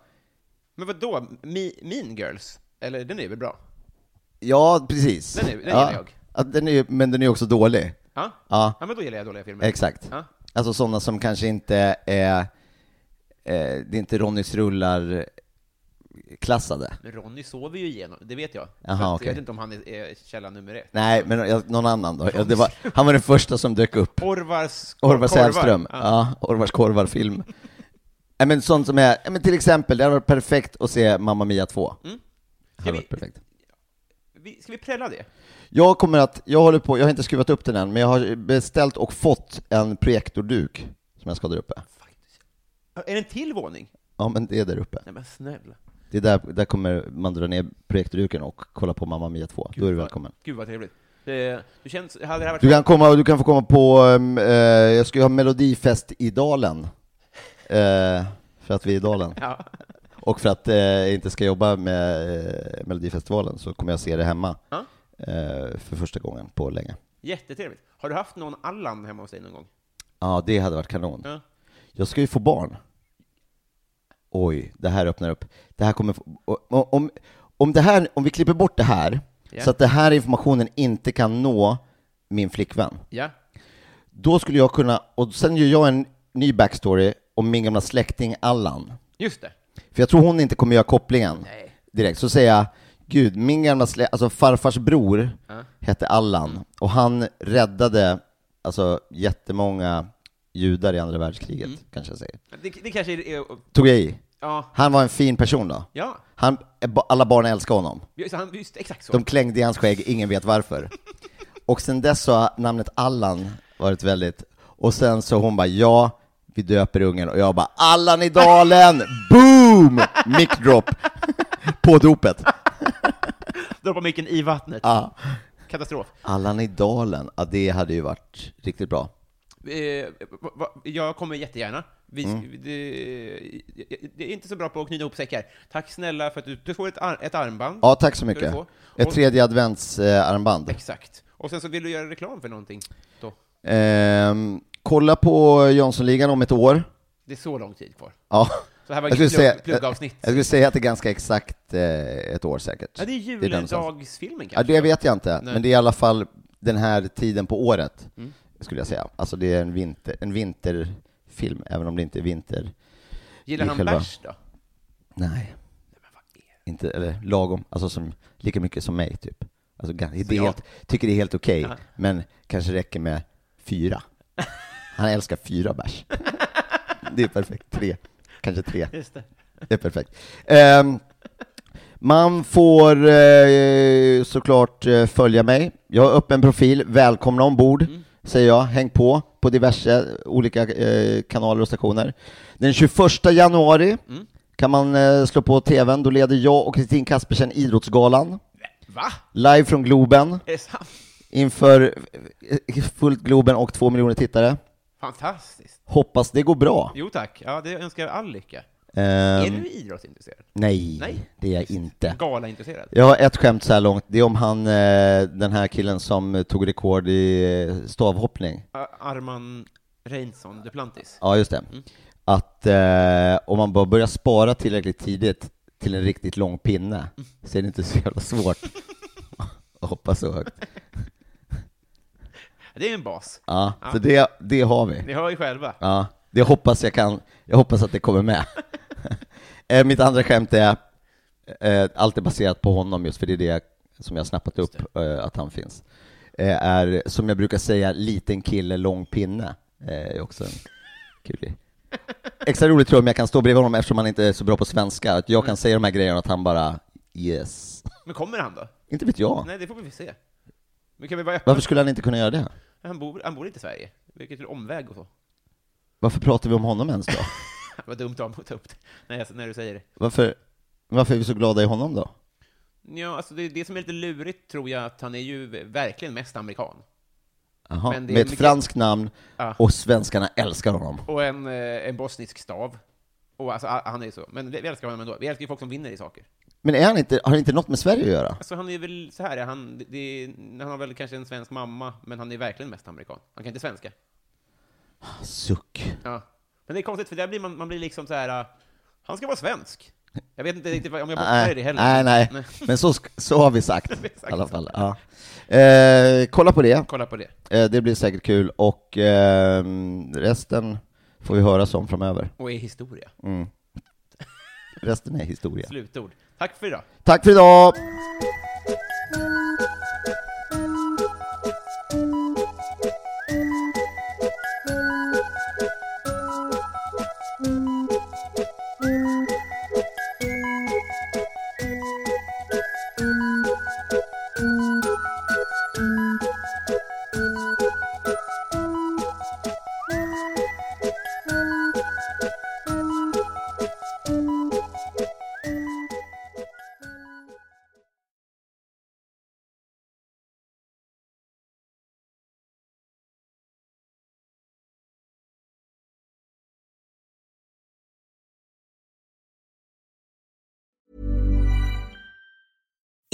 Speaker 2: Men vad då? Me, mean Girls? Eller den är väl bra?
Speaker 3: ja precis.
Speaker 2: Den är- den
Speaker 3: ja.
Speaker 2: gillar jag.
Speaker 3: Ja, den är, ju- men den är ju också dålig.
Speaker 2: Ja?
Speaker 3: Ja.
Speaker 2: men då gillar jag dåliga filmer.
Speaker 3: Exakt.
Speaker 2: Ja.
Speaker 3: Alltså sådana som kanske inte är, eh, det är inte Ronnys rullar-klassade.
Speaker 2: Men Ronny sover ju igenom, det vet jag.
Speaker 3: Jaha,
Speaker 2: Så att
Speaker 3: okej.
Speaker 2: Jag vet inte om han är, är källa nummer ett.
Speaker 3: Nej, men jag, någon annan då. Ja, det var, han var den första som dök upp.
Speaker 2: Orvars
Speaker 3: Orvar Sävström.
Speaker 2: Ja.
Speaker 3: Ja, Orvars korvarfilm. Nej, men sånt som är, ja, men till exempel, det hade varit perfekt att se Mamma Mia 2.
Speaker 2: Mm.
Speaker 3: Det hade
Speaker 2: vi-
Speaker 3: varit perfekt.
Speaker 2: Vi, ska vi prälla det?
Speaker 3: Jag kommer att, jag håller på, jag har inte skruvat upp den än, men jag har beställt och fått en projektorduk som jag ska ha där uppe.
Speaker 2: Är det en till våning?
Speaker 3: Ja, men det är där uppe.
Speaker 2: Nej men snälla.
Speaker 3: Det är där, där kommer man dra ner projektorduken och kolla på Mamma Mia 2. Då är du
Speaker 2: vad-
Speaker 3: välkommen.
Speaker 2: Gud vad trevligt. Det, du känns, hade det här varit...
Speaker 3: Du kan, komma, du kan få komma på, ehm, eh, jag ska ju ha melodifest i Dalen. Eh, för att vi är i Dalen.
Speaker 2: [laughs] Ja.
Speaker 3: Och för att eh, jag inte ska jobba med eh, Melodifestivalen så kommer jag se det hemma.
Speaker 2: Ja.
Speaker 3: Eh, för första gången på länge.
Speaker 2: Jättetrevligt. Har du haft någon Allan hemma hos dig någon gång?
Speaker 3: Ja, det hade varit kanon.
Speaker 2: Ja.
Speaker 3: Jag ska ju få barn. Oj, det här öppnar upp. Det här kommer... få- Om, om, om, det här, om vi klipper bort det här,
Speaker 2: Ja.
Speaker 3: så att den här informationen inte kan nå min flickvän,
Speaker 2: Ja.
Speaker 3: då skulle jag kunna... Och sen gör jag en ny backstory om min gamla släkting Allan.
Speaker 2: Just det.
Speaker 3: För jag tror hon inte kommer göra kopplingen
Speaker 2: Nej.
Speaker 3: direkt. Så säger jag, gud, min gamla slä... alltså farfars bror
Speaker 2: Ja.
Speaker 3: hette Allan, och han räddade alltså jättemånga judar i andra världskriget, kanske jag säger.
Speaker 2: Det, det kanske är... är-
Speaker 3: Tog jag i?
Speaker 2: Mm. Ja.
Speaker 3: Han var en fin person då.
Speaker 2: Ja.
Speaker 3: Han, alla barn älskade honom.
Speaker 2: Just, han, just exakt så.
Speaker 3: De klängde i hans skägg, ingen vet varför. Och sen dess så har namnet Allan varit väldigt... Och sen så hon bara ja, vi döper ungen, och jag bara Allan
Speaker 2: [laughs]
Speaker 3: i dalen! Boom! Mic drop! [laughs] På dopet.
Speaker 2: Droppa micken i vattnet.
Speaker 3: Ja.
Speaker 2: Katastrof.
Speaker 3: Allan i dalen, ja det hade ju varit riktigt bra.
Speaker 2: Eh, va- va- jag kommer jättegärna. Vi,
Speaker 3: Mm.
Speaker 2: det, jag- jag är inte så bra på att knyta ihop säckar. Tack snälla för att du, du får ett, ar, ett armband.
Speaker 3: Ja, tack så
Speaker 2: Ska
Speaker 3: mycket.
Speaker 2: du få?
Speaker 3: Ett
Speaker 2: Och-
Speaker 3: tredje eh, adventsarmband.
Speaker 2: Exakt. Och sen så vill du göra reklam för någonting. Då.
Speaker 3: Ehm, kolla på Jönssonligan om ett år.
Speaker 2: Det är så lång tid kvar.
Speaker 3: Ja.
Speaker 2: Så det här var
Speaker 3: Jag
Speaker 2: inget
Speaker 3: skulle
Speaker 2: plugg- pluggavsnitt.
Speaker 3: Jag, jag skulle säga att det är ganska exakt eh, ett år säkert.
Speaker 2: Ja, det är
Speaker 3: den som-
Speaker 2: juledagsfilmen
Speaker 3: Ja,
Speaker 2: kanske?
Speaker 3: det vet jag inte,
Speaker 2: Nej. Mm.
Speaker 3: men det är i alla fall den här tiden på året, skulle jag säga. Alltså det är en, vinter, en vinterfilm, även om det inte är vinter.
Speaker 2: Gillar
Speaker 3: i
Speaker 2: han
Speaker 3: själva-
Speaker 2: bärs då?
Speaker 3: Nej. Inte, eller lagom, alltså som, lika mycket som mig typ. Alltså, gan- det är
Speaker 2: jag-
Speaker 3: helt, tycker det är helt okej,
Speaker 2: Ja.
Speaker 3: men kanske räcker med fyra. Han älskar
Speaker 2: [laughs]
Speaker 3: fyra bärs. Det är perfekt. Tre, kanske tre.
Speaker 2: Just det.
Speaker 3: Det är perfekt. Ehm, man får eh, såklart eh, följa mig. Jag har öppen profil, välkomna ombord,
Speaker 2: Mm.
Speaker 3: säger jag. Häng på på diverse olika eh, kanaler och stationer. Den 21 januari
Speaker 2: Mm.
Speaker 3: kan man eh, slå på tvn, då leder jag och Kristin Kaspersen Idrottsgalan,
Speaker 2: Va?
Speaker 3: live från Globen,
Speaker 2: Är det sant?
Speaker 3: inför eh, fullt Globen och två miljoner tittare.
Speaker 2: Fantastiskt.
Speaker 3: Hoppas det går bra.
Speaker 2: Jo tack. Ja, det önskar jag all lycka.
Speaker 3: Ehm,
Speaker 2: är du idrottsintresserad?
Speaker 3: nej,
Speaker 2: Nej.
Speaker 3: det är jag inte.
Speaker 2: Galaintresserad?
Speaker 3: Jag har ett skämt så här långt, det är om han, eh, den här killen som eh, tog rekord i eh, stavhoppning.
Speaker 2: Ar- Arman Reinsson Duplantis?
Speaker 3: Ja, just det. Att eh, om man bara börjar spara tillräckligt tidigt till en riktigt lång pinne så är det inte så jävla svårt att hoppa så högt.
Speaker 2: Det är en bas.
Speaker 3: Ja, så det, det har vi.
Speaker 2: Ni hör ju själva.
Speaker 3: Ja, det hoppas jag kan, jag hoppas att det kommer med. Eh, Mitt andra skämt är, eh, allt är baserat på honom just för det är det som jag har snappat upp eh, att han finns. Eh, Är, som jag brukar säga, liten kille, lång pinne. Eh, Är också en kul grej. Extra roligt tror jag om jag kan stå bredvid honom eftersom han inte är så bra på svenska, att jag kan säga de här grejerna och att han bara yes. [laughs]
Speaker 2: Men kommer han då?
Speaker 3: Inte vet jag.
Speaker 2: Nej, det får vi väl se. Men kan vi vara öppna?
Speaker 3: Varför skulle han inte kunna göra det?
Speaker 2: Han bor, han bor inte i Sverige, vilket är omväg och så. [laughs]
Speaker 3: Varför pratar vi om honom ens då?
Speaker 2: Vad dumt av mig att ta upp det, när, jag, när du säger det.
Speaker 3: Varför, varför är vi så glada i honom då?
Speaker 2: Ja, alltså det, det som är lite lurigt tror jag, att han är ju verkligen mest amerikan.
Speaker 3: Jaha,
Speaker 2: Men det är
Speaker 3: med ett
Speaker 2: mycket-
Speaker 3: franskt namn
Speaker 2: Ja.
Speaker 3: och svenskarna älskar honom.
Speaker 2: Och en, eh, en bosnisk stav. Och alltså, a- han är ju så. Men vi vi älskar honom ändå. Vi älskar ju folk som vinner i saker.
Speaker 3: Men är han inte, har det inte något med Sverige att göra?
Speaker 2: Alltså han är väl så här, är han, det, det- han har väl kanske en svensk mamma, men han är verkligen mest amerikan. Han kan inte svenska.
Speaker 3: Suck.
Speaker 2: Ja. Men det är konstigt, för där blir man, man blir liksom så här, äh, han ska vara svensk. Jag vet inte riktigt vad- om jag bottnar i
Speaker 3: Nej,
Speaker 2: det heller.
Speaker 3: nej, nej.
Speaker 2: Nej.
Speaker 3: men så, sk- så har vi
Speaker 2: [laughs]
Speaker 3: sagt
Speaker 2: Vi har
Speaker 3: i
Speaker 2: sagt
Speaker 3: alla
Speaker 2: så.
Speaker 3: fall. Ja. Eh, kolla på det,
Speaker 2: Kolla på det.
Speaker 3: eh, det blir säkert kul och ehm, resten får vi höra om framöver.
Speaker 2: Och är historia.
Speaker 3: Mm. Resten är historia.
Speaker 2: Slutord. Tack för idag.
Speaker 3: Tack för idag!